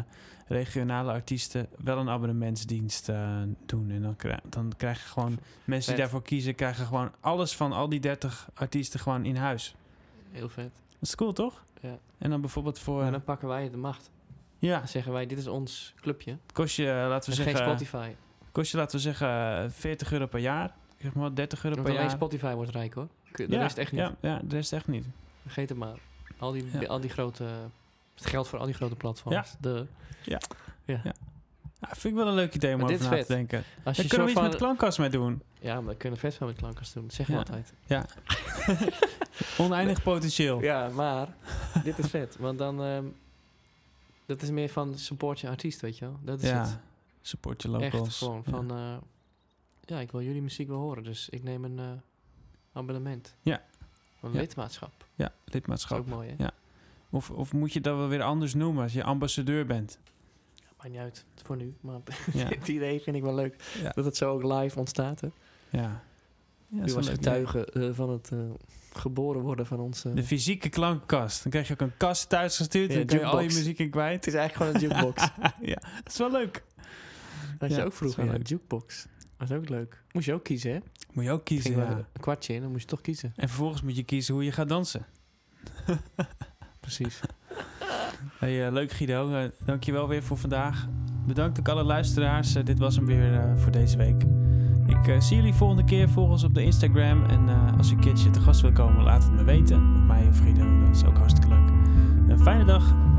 [SPEAKER 1] regionale artiesten wel een abonnementsdienst eh, doen? En dan, krij- dan krijgen gewoon mensen
[SPEAKER 2] Vet.
[SPEAKER 1] die daarvoor kiezen, krijgen gewoon alles van al die 30 artiesten gewoon in huis.
[SPEAKER 2] Heel vet.
[SPEAKER 1] Dat is cool, toch?
[SPEAKER 2] Ja.
[SPEAKER 1] En dan bijvoorbeeld voor. eh,
[SPEAKER 2] Maar dan pakken wij de macht.
[SPEAKER 1] ja,
[SPEAKER 2] Dan zeggen wij, dit is ons clubje.
[SPEAKER 1] kost je, eh, laten
[SPEAKER 2] Dus
[SPEAKER 1] we zeggen.
[SPEAKER 2] geen Spotify.
[SPEAKER 1] Kost je, laten we zeggen, 40 euro per jaar. Ik Zeg maar 30 euro
[SPEAKER 2] Want
[SPEAKER 1] per
[SPEAKER 2] alleen
[SPEAKER 1] jaar.
[SPEAKER 2] Spotify wordt rijk, hoor. De
[SPEAKER 1] ja,
[SPEAKER 2] rest echt niet.
[SPEAKER 1] Ja, ja, de rest echt niet.
[SPEAKER 2] Vergeet het maar. Al die,
[SPEAKER 1] Ja.
[SPEAKER 2] al die grote... Het geldt voor al die grote platforms. De,
[SPEAKER 1] Ja, vind ik wel een leuk idee om
[SPEAKER 2] Maar dit
[SPEAKER 1] over
[SPEAKER 2] is
[SPEAKER 1] na te
[SPEAKER 2] vet.
[SPEAKER 1] denken.
[SPEAKER 2] als je
[SPEAKER 1] Daar kunnen we
[SPEAKER 2] soort
[SPEAKER 1] iets
[SPEAKER 2] van,
[SPEAKER 1] met klankkast mee doen.
[SPEAKER 2] Ja, maar we kunnen vet veel met klankers doen. Dat zeggen
[SPEAKER 1] Ja.
[SPEAKER 2] we altijd.
[SPEAKER 1] Oneindig potentieel.
[SPEAKER 2] Ja, maar dit is vet. Want dan... ehm, dat is meer van support je artiest, weet je wel. Dat is
[SPEAKER 1] Ja,
[SPEAKER 2] het.
[SPEAKER 1] Support je
[SPEAKER 2] Echt
[SPEAKER 1] locals.
[SPEAKER 2] gewoon
[SPEAKER 1] Ja.
[SPEAKER 2] van... Ja. ja, ik wil jullie muziek wel horen. Dus ik neem een eh, abonnement.
[SPEAKER 1] Ja.
[SPEAKER 2] Een
[SPEAKER 1] Ja.
[SPEAKER 2] lidmaatschap. Dat
[SPEAKER 1] Ja,
[SPEAKER 2] is ook
[SPEAKER 1] lidmaatschap.
[SPEAKER 2] mooi, hè?
[SPEAKER 1] Ja. Of, of moet je dat wel weer anders noemen als je ambassadeur bent?
[SPEAKER 2] Maakt niet uit, voor nu. Maar
[SPEAKER 1] Ja,
[SPEAKER 2] dit idee vind ik wel leuk.
[SPEAKER 1] Ja.
[SPEAKER 2] Dat het zo ook live ontstaat. Hè?
[SPEAKER 1] ja. ja
[SPEAKER 2] U
[SPEAKER 1] is
[SPEAKER 2] was
[SPEAKER 1] wel leuk.
[SPEAKER 2] getuige eh, van het eh, geboren worden van onze...
[SPEAKER 1] De fysieke klankkast. Dan krijg je ook een kast thuis gestuurd.
[SPEAKER 2] Ja,
[SPEAKER 1] en dan kun je al je
[SPEAKER 2] jukebox.
[SPEAKER 1] muziek in
[SPEAKER 2] het
[SPEAKER 1] kwijt.
[SPEAKER 2] is eigenlijk gewoon een jukebox.
[SPEAKER 1] ja, dat is wel leuk.
[SPEAKER 2] Dat is
[SPEAKER 1] Ja,
[SPEAKER 2] ook
[SPEAKER 1] dat is wel
[SPEAKER 2] vroeger een
[SPEAKER 1] leuk.
[SPEAKER 2] jukebox. Dat is ook leuk. Moest je ook kiezen, hè?
[SPEAKER 1] Moet je ook kiezen.
[SPEAKER 2] Ging wel
[SPEAKER 1] Ja.
[SPEAKER 2] een kwartje in, dan moest je toch kiezen.
[SPEAKER 1] En vervolgens moet je kiezen hoe je gaat dansen.
[SPEAKER 2] Precies.
[SPEAKER 1] Hey, eh, leuk Guido, Eh, dankjewel weer voor vandaag. Bedankt ook alle luisteraars. Eh, dit was hem weer eh, voor deze week. Ik eh, zie jullie volgende keer. Volg ons op de Instagram. En eh, als je een keertje te gast wil komen, laat het me weten. Op mij of Guido, dat is ook hartstikke leuk. Een fijne dag